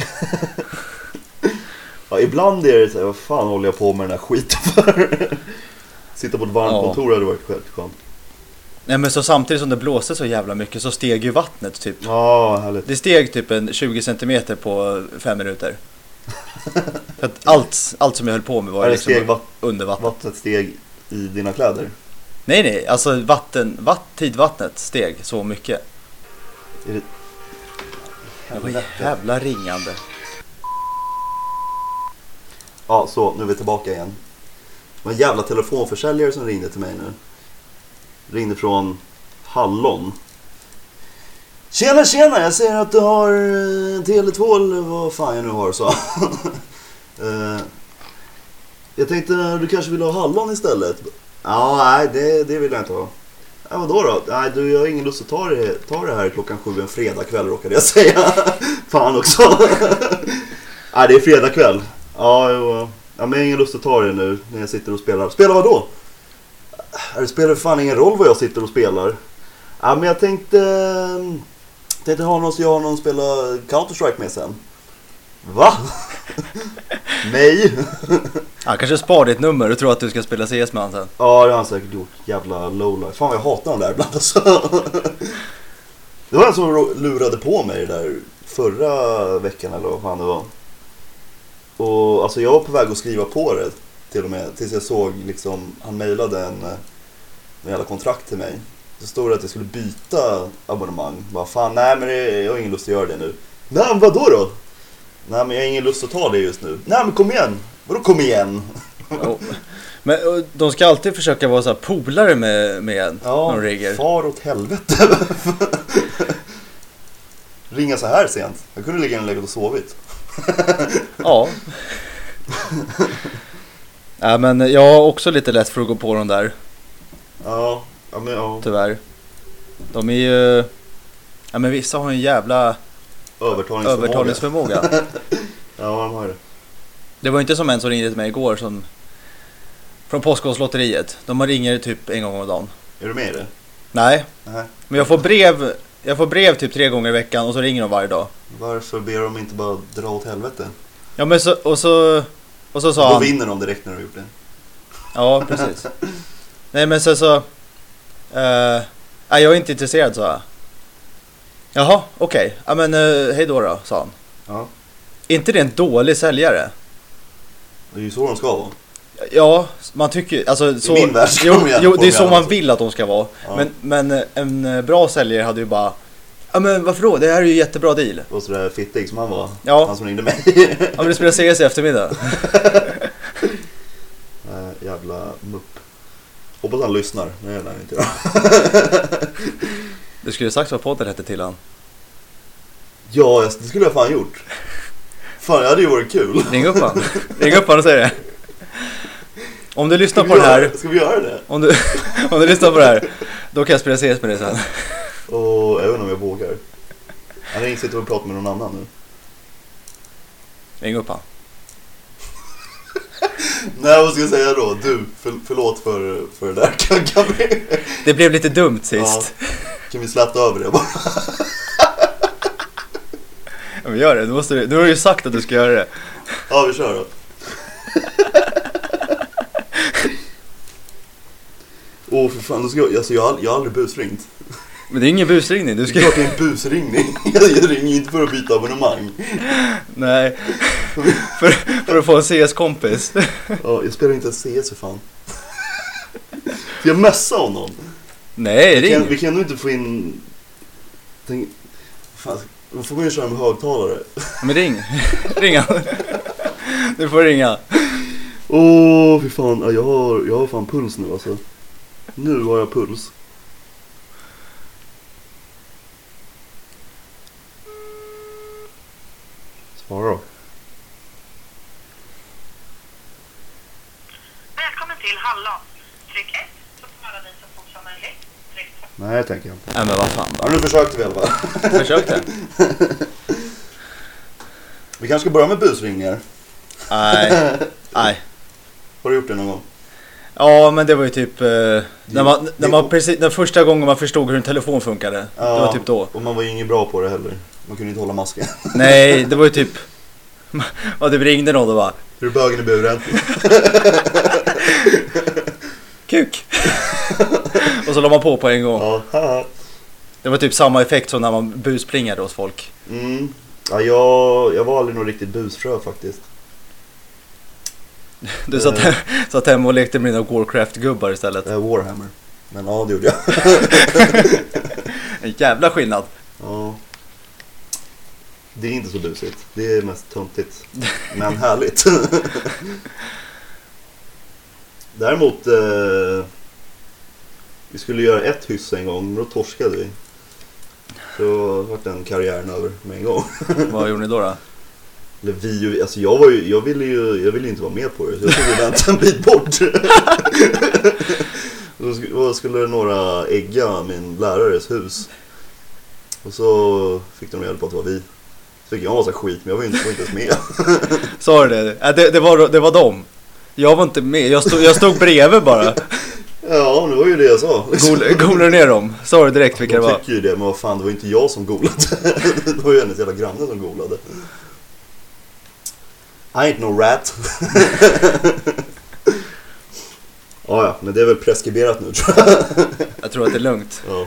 [SPEAKER 3] Ja, ibland är det så här, vad fan håller jag på med den här skiten för? Sitta på ett varmt
[SPEAKER 4] Ja.
[SPEAKER 3] kontor hade varit skönt. skönt.
[SPEAKER 4] nej men så samtidigt som det blåste så jävla mycket så steg ju vattnet typ.
[SPEAKER 3] Ja, vad härligt.
[SPEAKER 4] Det steg typ en 20 centimeter på fem minuter. För att allt, allt som jag höll på med var
[SPEAKER 3] Är
[SPEAKER 4] ju
[SPEAKER 3] det steg,
[SPEAKER 4] liksom
[SPEAKER 3] va-
[SPEAKER 4] under vatten.
[SPEAKER 3] vattnet steg i dina kläder?
[SPEAKER 4] Nej nej, alltså vatten, vatt, tidvattnet steg så mycket.
[SPEAKER 3] Är det...
[SPEAKER 4] Det var jävla ringande.
[SPEAKER 3] Ja, så nu är vi tillbaka igen. Det var en jävla telefonförsäljare som ringde till mig nu. Ringde från Hallon. Tjena, tjena! Jag ser att du har eh, Tele2 eller vad fan jag nu har, sa han. Eh, Jag tänkte eh, du kanske vill ha Hallon istället? Ja, nej, det, det vill jag inte ha. Ja, vadå då? Nej, du, jag har ingen lust att ta det, ta det här klockan sju en fredagkväll råkade jag säga. Fan också. Nej, det är fredag kväll. Ja, jo. ja. ja, men jag har ingen lust att ta det nu när jag sitter och spelar. Spela vad då? Det spelar för fan ingen roll vad jag sitter och spelar. Ja, men jag tänkte... eh, Tänkte ha någon så jag har någon att spela Counter-Strike med sen. Va? Nej.
[SPEAKER 4] Han kanske spar ditt nummer och tror att du ska spela CS med han sen.
[SPEAKER 3] Ja, det har han säkert gjort. Jävla lowlife. Fan vad jag hatar den där ibland alltså. Det var en som ro- lurade på mig det där förra veckan eller vad fan det var. Och alltså jag var på väg att skriva på det till och med. Tills jag såg liksom, han mejlade en, eh, en jävla kontrakt till mig. Så stod det att jag skulle byta abonnemang. Bara fan nej men det, jag har ingen lust att göra det nu. Nej men vadå då? Nej men jag har ingen lust att ta det just nu. Nej men kom igen. Vadå kom igen?
[SPEAKER 4] Jo. Men och, de ska alltid försöka vara så här polare med, med en. Ja, de rigger.
[SPEAKER 3] far åt helvete. Ringa så här sent. Jag kunde ligga i läget och sovit.
[SPEAKER 4] Ja. Nej men jag har också lite lätt för att gå på de där.
[SPEAKER 3] Ja, ja men ja.
[SPEAKER 4] Tyvärr. De är ju... Ja men vissa har en jävla
[SPEAKER 3] Övertalningsförmåga.
[SPEAKER 4] övertalningsförmåga.
[SPEAKER 3] Ja, de har ju det.
[SPEAKER 4] Det var inte som en som ringde till mig igår som... Från Postkodlotteriet. De ringer typ en gång om dagen.
[SPEAKER 3] Är du med i det?
[SPEAKER 4] Nej,
[SPEAKER 3] Nej.
[SPEAKER 4] men jag får brev. Jag får brev typ tre gånger i veckan och så ringer de varje dag.
[SPEAKER 3] Varför ber de inte bara dra åt helvete?
[SPEAKER 4] Ja men så... Och så... Och så sa
[SPEAKER 3] Då
[SPEAKER 4] han...
[SPEAKER 3] vinner de direkt när de har gjort det.
[SPEAKER 4] Ja, precis. Nej men sen så... eh, nej, jag är inte intresserad sa jag. Jaha, okej. Ja men uh, hej då då, sa han.
[SPEAKER 3] Ja.
[SPEAKER 4] Är inte det en dålig säljare?
[SPEAKER 3] Det är ju så de ska vara.
[SPEAKER 4] Ja, man tycker ju- alltså, så,
[SPEAKER 3] min värld ska
[SPEAKER 4] jo,
[SPEAKER 3] de gärna
[SPEAKER 4] jo,
[SPEAKER 3] få
[SPEAKER 4] det är
[SPEAKER 3] dem
[SPEAKER 4] så
[SPEAKER 3] gärna
[SPEAKER 4] man
[SPEAKER 3] så.
[SPEAKER 4] vill att de ska vara.
[SPEAKER 3] Ja.
[SPEAKER 4] Men, men eh, en eh, bra säljare hade ju bara... Ja men varför då? Det här är ju jättebra deal.
[SPEAKER 3] Och sådär fittig som han var.
[SPEAKER 4] Ja.
[SPEAKER 3] Han som ringde mig.
[SPEAKER 4] Ja men det spelar CS i eftermiddag.
[SPEAKER 3] Nej, jävla mupp. Hoppas han lyssnar. Nej, det lär han inte göra.
[SPEAKER 4] Du skulle ju sagt vad podden hette till han.
[SPEAKER 3] Ja, jag- det skulle jag fan gjort. Fan, det hade ju varit kul.
[SPEAKER 4] Ring upp han. Ring upp han och säg det. Om du lyssnar
[SPEAKER 3] Ska vi
[SPEAKER 4] på den här,
[SPEAKER 3] göra- Ska vi göra det?
[SPEAKER 4] om du, om du lyssnar på det här, då kan jag spela CS med dig sen.
[SPEAKER 3] Och jag vet inte om jag vågar. Han har insett att vi pratar med någon annan nu.
[SPEAKER 4] Ring upp han.
[SPEAKER 3] Nej, vad ska jag säga då? Du, för, förlåt för, för det där. Kan, kan, vi,
[SPEAKER 4] Det blev lite dumt
[SPEAKER 3] ja,
[SPEAKER 4] sist.
[SPEAKER 3] kan vi släppa över det bara?
[SPEAKER 4] Ja. Men gör det, du, måste, du- du har ju sagt att du ska göra det.
[SPEAKER 3] Ja, vi kör då. Åh, för fan. Då ska jag, alltså, jag, har, ald- jag har aldrig busringt.
[SPEAKER 4] Men det är ingen busringning, du ska...
[SPEAKER 3] Det är klart det är en busringning. Jag, jag ringer inte för att byta abonnemang.
[SPEAKER 4] Nej. För, för att få en CS-kompis.
[SPEAKER 3] Ja, jag spelar inte ens CS för fan. Ska jag messa honom?
[SPEAKER 4] Nej,
[SPEAKER 3] Vi kan, vi
[SPEAKER 4] ring.
[SPEAKER 3] kan nog inte få in... Tänk, fan, då får man ju köra med högtalare.
[SPEAKER 4] Men ring. Ring han. Du får ringa.
[SPEAKER 3] Åh, fy fan. Ja, Jag har, jag har fan puls nu alltså. Nu har jag puls. Svara då.
[SPEAKER 6] Välkommen till Hallon. Tryck 1 för att svara dig så fort som möjligt. Tryck 2.
[SPEAKER 3] Nej, tänker jag inte.
[SPEAKER 4] Nej men vad fan då.
[SPEAKER 3] Ja, nu försökte vi i alla fall.
[SPEAKER 4] Försökte.
[SPEAKER 3] Vi kanske ska börja med busringningar.
[SPEAKER 4] Nej. Nej.
[SPEAKER 3] Har du gjort det någon gång?
[SPEAKER 4] Ja men det var ju typ eh, när man,
[SPEAKER 3] det-
[SPEAKER 4] när man precis, den första gången man förstod hur en telefon funkade. Det var typ då.
[SPEAKER 3] Och man var ju ingen bra på det heller. Man kunde inte hålla masken.
[SPEAKER 4] Nej, det var ju typ... Ja, det ringde någon och bara
[SPEAKER 3] Är du bögen i buren?
[SPEAKER 4] Kuk! och så la man på på en gång.
[SPEAKER 3] Ja, haha.
[SPEAKER 4] Det var typ samma effekt som när man busplingade hos folk.
[SPEAKER 3] Mm. Ja, jag, jag var aldrig något riktigt busfrö faktiskt.
[SPEAKER 4] Du satt, satt hemma och lekte med dina Warcraft-gubbar istället.
[SPEAKER 3] Eh, Warhammer. Men ja, det gjorde jag.
[SPEAKER 4] En jävla skillnad.
[SPEAKER 3] Ja. Det är inte så busigt. Det är mest töntigt. Men härligt. Däremot, eh, vi skulle göra ett hyss en gång, men då torskade vi. Så vart den karriären över med en gång.
[SPEAKER 4] Vad gjorde ni då? då?
[SPEAKER 3] Eller vi och vi, alltså jag, var ju, jag ville ju jag ville ju inte vara med på det så jag skulle vänta en bit bort. Då sk- då skulle några ägga min lärares hus. Och så fick de reda på att det var vi. Så fick jag massa skit men jag var ju inte, var inte ens med.
[SPEAKER 4] Sa du det? Ja, det, det, var, det var dem. Jag var inte med, jag stod, jag stod bredvid bara.
[SPEAKER 3] Ja men det var ju det jag sa.
[SPEAKER 4] Gol- Golade ner dem. Sa du direkt vilka det
[SPEAKER 3] De
[SPEAKER 4] var?
[SPEAKER 3] tycker ju det men vad fan det var ju inte jag som golade. det var ju hennes jävla granne som golade. I ain't no rat. ja, ja, men det är väl preskriberat nu tror jag.
[SPEAKER 4] Jag tror att det är lugnt.
[SPEAKER 3] Ja.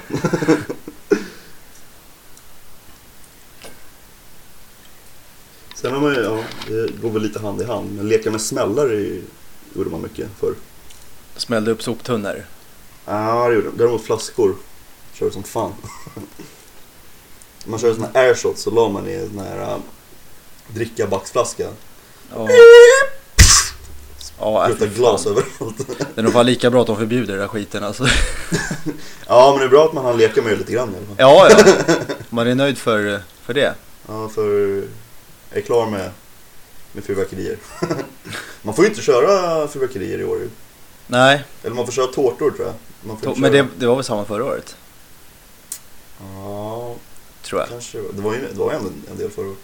[SPEAKER 3] Sen har man ju, ja, det går väl lite hand i hand, men leka med smällare i- gjorde man mycket förr.
[SPEAKER 4] Smällde upp soptunnor.
[SPEAKER 3] Ja, det gjorde man. Däremot flaskor körde som fan. Man körde såna här airshots så la man i en sån här äh, drickabacksflaska.
[SPEAKER 4] Ja. Ja,
[SPEAKER 3] Ruta
[SPEAKER 4] fy fan.
[SPEAKER 3] glas överallt.
[SPEAKER 4] Det är nog fan lika bra att de förbjuder den där skiten alltså.
[SPEAKER 3] Ja, men det är bra att man har leka med det lite grann i alla fall.
[SPEAKER 4] Ja, ja. Man är nöjd för, för det.
[SPEAKER 3] Ja, för jag är klar med, med fyrverkerier. man får ju inte köra fyrverkerier i år ju.
[SPEAKER 4] Nej,
[SPEAKER 3] Eller man får köra tårtor tror jag. Man får
[SPEAKER 4] to-
[SPEAKER 3] inte
[SPEAKER 4] men
[SPEAKER 3] köra-
[SPEAKER 4] det, det var väl samma förra året?
[SPEAKER 3] Ja,
[SPEAKER 4] Tror jag.
[SPEAKER 3] kanske. det var. Det var ju det var ju ändå en del förra året.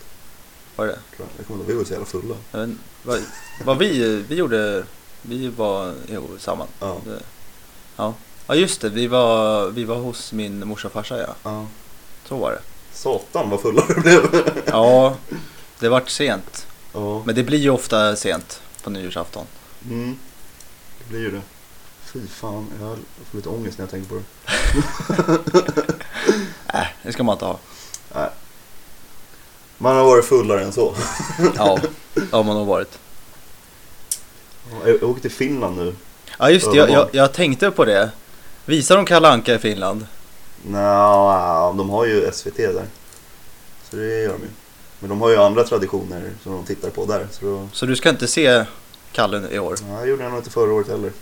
[SPEAKER 4] Var det?
[SPEAKER 3] tror jag. Jag kommer inte ihåg, vi var så jävla fulla.
[SPEAKER 4] Jag vet inte. Vad, vad vi, vi gjorde, vi var jo, samman.
[SPEAKER 3] Ja.
[SPEAKER 4] Det- ja. Ja just det, vi var, vi var hos min morsa och farsa ja.
[SPEAKER 3] ja.
[SPEAKER 4] Så var det.
[SPEAKER 3] Satan vad fulla det blev.
[SPEAKER 4] Ja, det vart sent.
[SPEAKER 3] Ja.
[SPEAKER 4] Men det blir ju ofta sent på nyårsafton.
[SPEAKER 3] Mm. Det blir ju det. Fy fan, jag får lite ångest när jag tänker på det.
[SPEAKER 4] Äh, det ska man inte ha.
[SPEAKER 3] Man har varit fullare än så.
[SPEAKER 4] Ja, det har man nog varit.
[SPEAKER 3] Jag, jag åker till Finland nu.
[SPEAKER 4] Ja just det, jag, jag, jag tänkte på det. Visar de Kalle Anka i Finland?
[SPEAKER 3] Nja, de har ju SVT där. Så det gör de ju. Men de har ju andra traditioner som de tittar på där. Så då...
[SPEAKER 4] Så du ska inte se Kalle nu i år?
[SPEAKER 3] Nej, det gjorde jag nog inte förra året heller.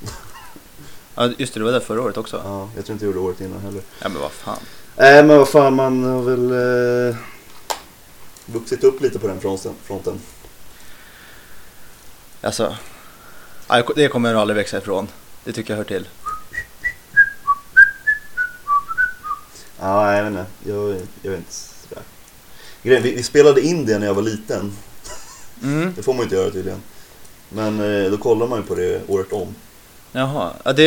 [SPEAKER 4] Ja just det, det var där förra året också.
[SPEAKER 3] Ja, jag tror inte jag gjorde året innan heller.
[SPEAKER 4] Ja men vad fan.
[SPEAKER 3] Nej men vad fan man har väl eh, vuxit upp lite på den fronten. fronten.
[SPEAKER 4] Alltså, Ja, jag- Det kommer jag nog aldrig växa ifrån. Det tycker jag hör till.
[SPEAKER 3] Ja, jag vet inte. Jag, jag vet inte sådär. Grejen, vi, vi spelade in det när jag var liten.
[SPEAKER 4] Mm.
[SPEAKER 3] Det får man ju inte göra tydligen. Men eh, då kollar man ju på det året om.
[SPEAKER 4] Jaha, ja, det,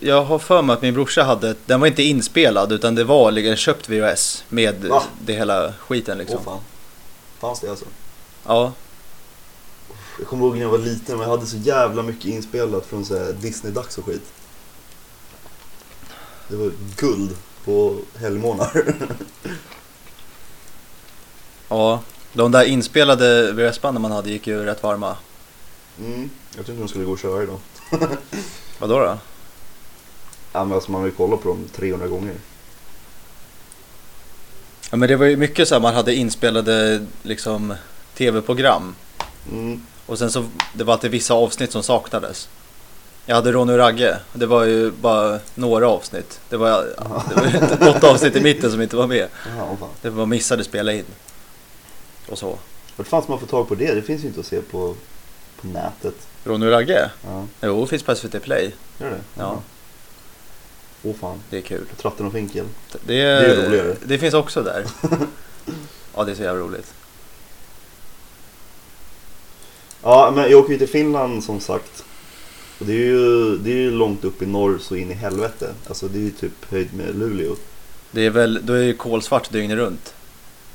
[SPEAKER 4] jag har för mig att min brorsa hade, ett- den var inte inspelad utan det var liksom köpt VHS med
[SPEAKER 3] Va?
[SPEAKER 4] det hela skiten
[SPEAKER 3] Åh
[SPEAKER 4] liksom.
[SPEAKER 3] fan. Fanns det alltså?
[SPEAKER 4] ja,
[SPEAKER 3] Jag kommer ihåg när jag var liten, men jag hade så jävla mycket inspelat från så här Disney-dags och skit. Det var guld på helgmånader.
[SPEAKER 4] ja, de där inspelade VHS-banden man hade gick ju rätt varma.
[SPEAKER 3] Mm. Jag tror inte de skulle gå och köra idag.
[SPEAKER 4] Vadå då?
[SPEAKER 3] Ja, men alltså man har ju kollat på dem 300 gånger.
[SPEAKER 4] Ja men det var ju mycket så här, man hade inspelade liksom tv-program
[SPEAKER 3] Mm.
[SPEAKER 4] och sen så det var alltid vissa avsnitt som saknades. Jag hade Ronny och Ragge, och det var ju bara några avsnitt. Det var, det var ju något avsnitt i mitten som inte var med.
[SPEAKER 3] Jaha, åh fan.
[SPEAKER 4] Det var missade spela in. Och så.
[SPEAKER 3] Vart fan ska man få tag på det? Det finns ju inte att se på, på nätet.
[SPEAKER 4] Ronny och Ragge?
[SPEAKER 3] Ja,
[SPEAKER 4] Jo, finns på SVT Play.
[SPEAKER 3] gör det?
[SPEAKER 4] Ja.
[SPEAKER 3] Åh fan.
[SPEAKER 4] Det är kul.
[SPEAKER 3] Tratten och finkel.
[SPEAKER 4] Det,
[SPEAKER 3] är roligare.
[SPEAKER 4] Det finns också där. Ja, det är så jävla roligt.
[SPEAKER 3] Ja, men jag åker ju till Finland som sagt. Och det är ju, det är ju långt upp i norr så in i helvete. Alltså det är ju typ höjd med Luleå.
[SPEAKER 4] Det är väl, då är det ju kolsvart dygnet runt.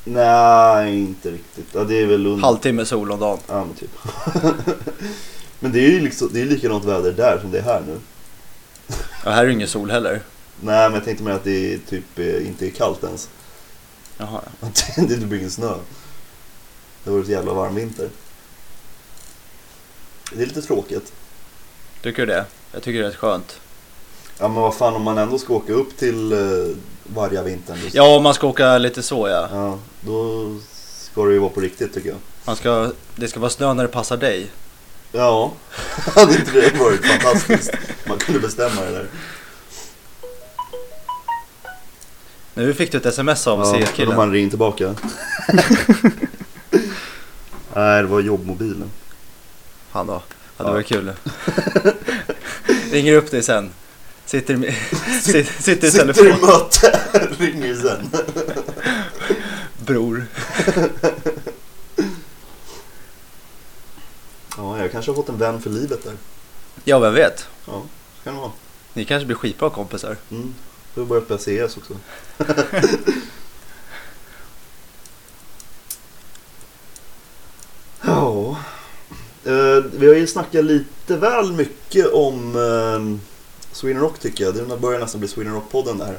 [SPEAKER 3] Nej, inte riktigt. Ja, det är väl under...
[SPEAKER 4] Halvtimme sol om dagen.
[SPEAKER 3] Ja, men typ. men det är ju liksom, det är ju likadant väder där som det är här nu.
[SPEAKER 4] Ja, här är ju ingen sol heller.
[SPEAKER 3] Nej, men jag tänkte mer att det är typ eh, inte är kallt ens.
[SPEAKER 4] Jaha.
[SPEAKER 3] Att det inte blir ingen snö. Det var en jävla varm vinter. Det är lite tråkigt.
[SPEAKER 4] Tycker du det? Jag tycker det är rätt skönt.
[SPEAKER 3] Ja, men vad fan om man ändå ska åka upp till eh, varje vintern. då-
[SPEAKER 4] Ja, om man ska åka lite så ja.
[SPEAKER 3] Ja, då ska det ju vara på riktigt tycker jag.
[SPEAKER 4] Man ska, det ska vara snö när det passar dig.
[SPEAKER 3] Ja, hade inte det varit fantastiskt? Man kunde bestämma det där.
[SPEAKER 4] Nu fick du ett sms av
[SPEAKER 3] Ja, då
[SPEAKER 4] CS-killen.
[SPEAKER 3] man ringt tillbaka. Nej, det var jobbmobilen.
[SPEAKER 4] Han då. Ja, det
[SPEAKER 3] Ja.
[SPEAKER 4] var kul. Ringer upp dig sen. Sitter, i- sitter, sitter i
[SPEAKER 3] Sitter i
[SPEAKER 4] telefon.
[SPEAKER 3] möte, ringer sen.
[SPEAKER 4] Bror.
[SPEAKER 3] Ja, jag kanske har fått en vän för livet där.
[SPEAKER 4] Ja, vem vet?
[SPEAKER 3] Ja, kan det vara.
[SPEAKER 4] Ni kanske blir skitbra kompisar.
[SPEAKER 3] Mm. Du har börjat börja CS också. ja. Eh, vi har ju snackat lite väl mycket om eh, Sweden Rock tycker jag. Det börjar nästan bli Sweden Rock-podden där.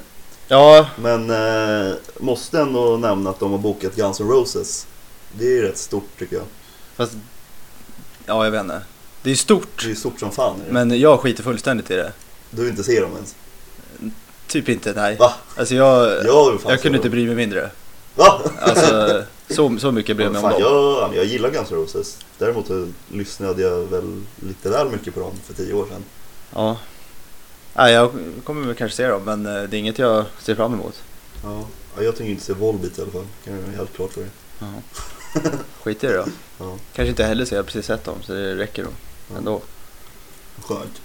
[SPEAKER 4] Ja,
[SPEAKER 3] Men eh, måste ändå nämna att de har bokat Guns N' Roses. Det är rätt stort tycker jag.
[SPEAKER 4] fast... Ja, jag vet inte. Det är stort,
[SPEAKER 3] Det är ju stort som fan. Är det?
[SPEAKER 4] men jag skiter fullständigt i det.
[SPEAKER 3] Du vill inte se dem ens.
[SPEAKER 4] Typ inte, nej.
[SPEAKER 3] Va?
[SPEAKER 4] Alltså jag...
[SPEAKER 3] Jag, vill fan
[SPEAKER 4] Jag
[SPEAKER 3] se
[SPEAKER 4] kunde
[SPEAKER 3] dem.
[SPEAKER 4] inte bry mig mindre.
[SPEAKER 3] Va?
[SPEAKER 4] Alltså, så, så mycket bryr jag mig om
[SPEAKER 3] Fan,
[SPEAKER 4] dem.
[SPEAKER 3] jag, jag gillar Guns N' Roses. Däremot så lyssnade jag väl lite väl mycket på dem för tio år sedan.
[SPEAKER 4] Ja. Nej, jag kommer väl kanske se dem, men eh, det är inget jag ser fram emot.
[SPEAKER 3] Ja. Ja, jag tänker inte se Volbeat i alla fall. Kan jag göra helt klart för dig.
[SPEAKER 4] Skit i det då.
[SPEAKER 3] Ja.
[SPEAKER 4] Kanske inte heller ser, jag har precis sett dem, så det räcker nog. Ändå.
[SPEAKER 3] Skönt.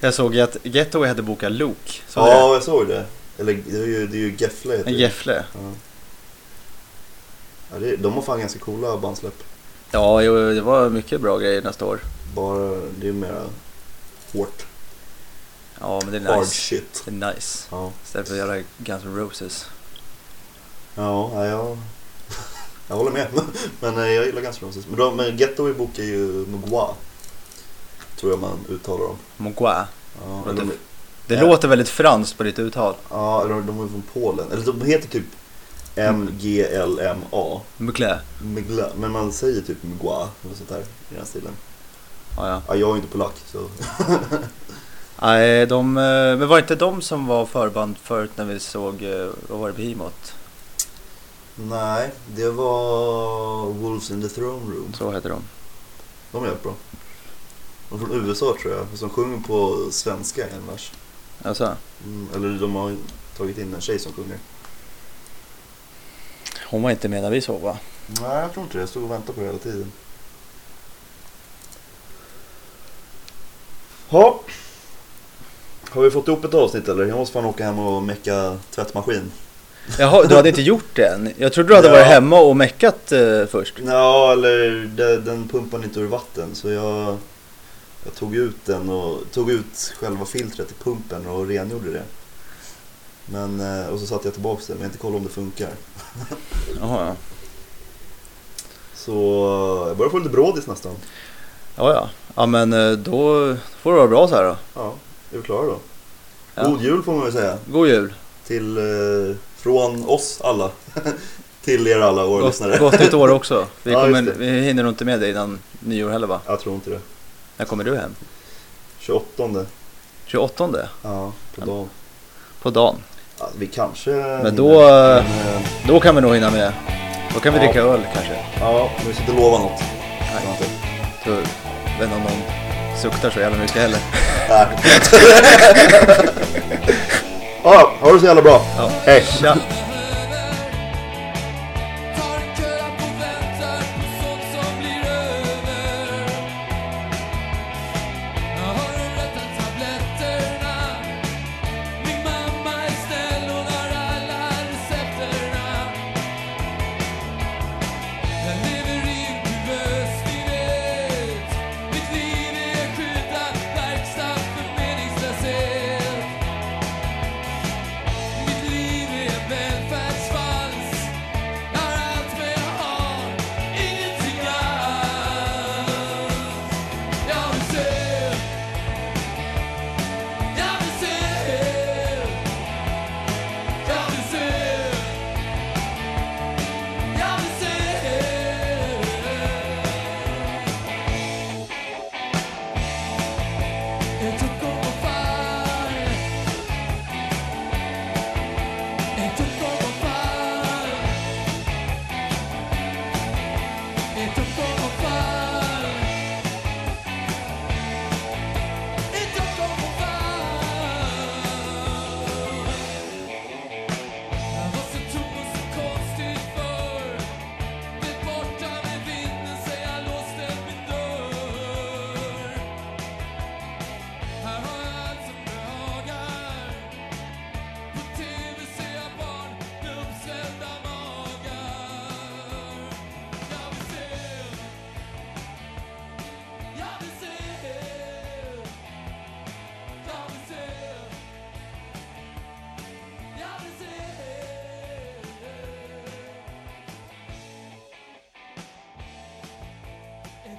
[SPEAKER 4] Jag såg ju att Getaway hade bokat Luke. Såg du
[SPEAKER 3] Ja, jag såg det. Eller det är ju, det är ju Gefle heter
[SPEAKER 4] det?
[SPEAKER 3] det.
[SPEAKER 4] Gefle.
[SPEAKER 3] Ja, det, de har fan ganska coola bandsläpp.
[SPEAKER 4] Ja, jo, det var mycket bra grejer nästa år.
[SPEAKER 3] Bara det är mera hårt.
[SPEAKER 4] Ja, men det är nice.
[SPEAKER 3] Hard shit.
[SPEAKER 4] Det är nice.
[SPEAKER 3] Ja,
[SPEAKER 4] Istället för att göra Guns N' Roses.
[SPEAKER 3] ja, ja jag, jag håller med. Men eh, jag gillar Guns N' Roses. Men, de, men Getaway bokar ju Mugwa. Tror jag man uttalar dem.
[SPEAKER 4] Mogwa.
[SPEAKER 3] Ja,
[SPEAKER 4] Vad
[SPEAKER 3] eller
[SPEAKER 4] det-
[SPEAKER 3] de-
[SPEAKER 4] Det
[SPEAKER 3] Ja.
[SPEAKER 4] låter väldigt franskt på ditt uttal.
[SPEAKER 3] Ja, eller de är från Polen. Eller de heter typ MGLMA.
[SPEAKER 4] Mugla.
[SPEAKER 3] Mgla, men man säger typ Mgwa eller sånt där i den stilen.
[SPEAKER 4] Ja, ja.
[SPEAKER 3] Ja, jag är inte polack så...
[SPEAKER 4] Nej, de, eh, men var det inte de som var förband förut när vi såg, eh, vad var det, Behemoth?
[SPEAKER 3] Nej, det var Wolves in the Throne Room.
[SPEAKER 4] Så heter de.
[SPEAKER 3] De är jävligt bra. De är från USA tror jag, som sjunger på svenska i en vers.
[SPEAKER 4] Alltså,
[SPEAKER 3] Mm, eller de har tagit in en tjej som sjunger.
[SPEAKER 4] hon var inte med när vi såg va?
[SPEAKER 3] Nej, jag tror inte det. Jag stod och väntade på det hela tiden. Ha. Har vi fått ihop ett avsnitt eller? Jag måste fan åka hem och mecka tvättmaskin.
[SPEAKER 4] Jaha, du hade inte gjort det än? Jag trodde du hade
[SPEAKER 3] Ja.
[SPEAKER 4] varit hemma och meckat eh, först.
[SPEAKER 3] Ja, eller de- den pumpade inte ur vatten så jag, jag tog ut den och tog ut själva filtret i pumpen och rengjorde det. Men, eh, och så satte jag tillbaka den, men jag har inte kollat om det funkar.
[SPEAKER 4] Jaha, ja.
[SPEAKER 3] Så eh, jag börjar få lite brådis nästan.
[SPEAKER 4] Ja, ja. Ja, men eh, då får du vara bra så här då.
[SPEAKER 3] Ja, är vi klara då?
[SPEAKER 4] Ja.
[SPEAKER 3] God jul får man väl säga.
[SPEAKER 4] God jul.
[SPEAKER 3] Till, eh, från oss alla. till er alla, våra lyssnare.
[SPEAKER 4] Gott, gott nytt år också. Vi,
[SPEAKER 3] Ja,
[SPEAKER 4] kommer,
[SPEAKER 3] just det.
[SPEAKER 4] vi hinner nog inte med dig innan nyår heller va?
[SPEAKER 3] Jag tror inte det.
[SPEAKER 4] När kommer du hem?
[SPEAKER 3] 28.
[SPEAKER 4] 28
[SPEAKER 3] Ja, på dagen.
[SPEAKER 4] på dagen.
[SPEAKER 3] Ja, vi kanske...
[SPEAKER 4] Men då,
[SPEAKER 3] hinner, men, eh,
[SPEAKER 4] Då kan vi nog hinna med. Då kan vi
[SPEAKER 3] Ja.
[SPEAKER 4] dricka öl kanske.
[SPEAKER 3] Ja, men vi ska inte lova något.
[SPEAKER 4] Nej. Så, jag vet inte om någon suktar så jävla mycket heller.
[SPEAKER 3] Ja, ha det så jävla bra.
[SPEAKER 4] Ja.
[SPEAKER 3] Hej.
[SPEAKER 4] Tja.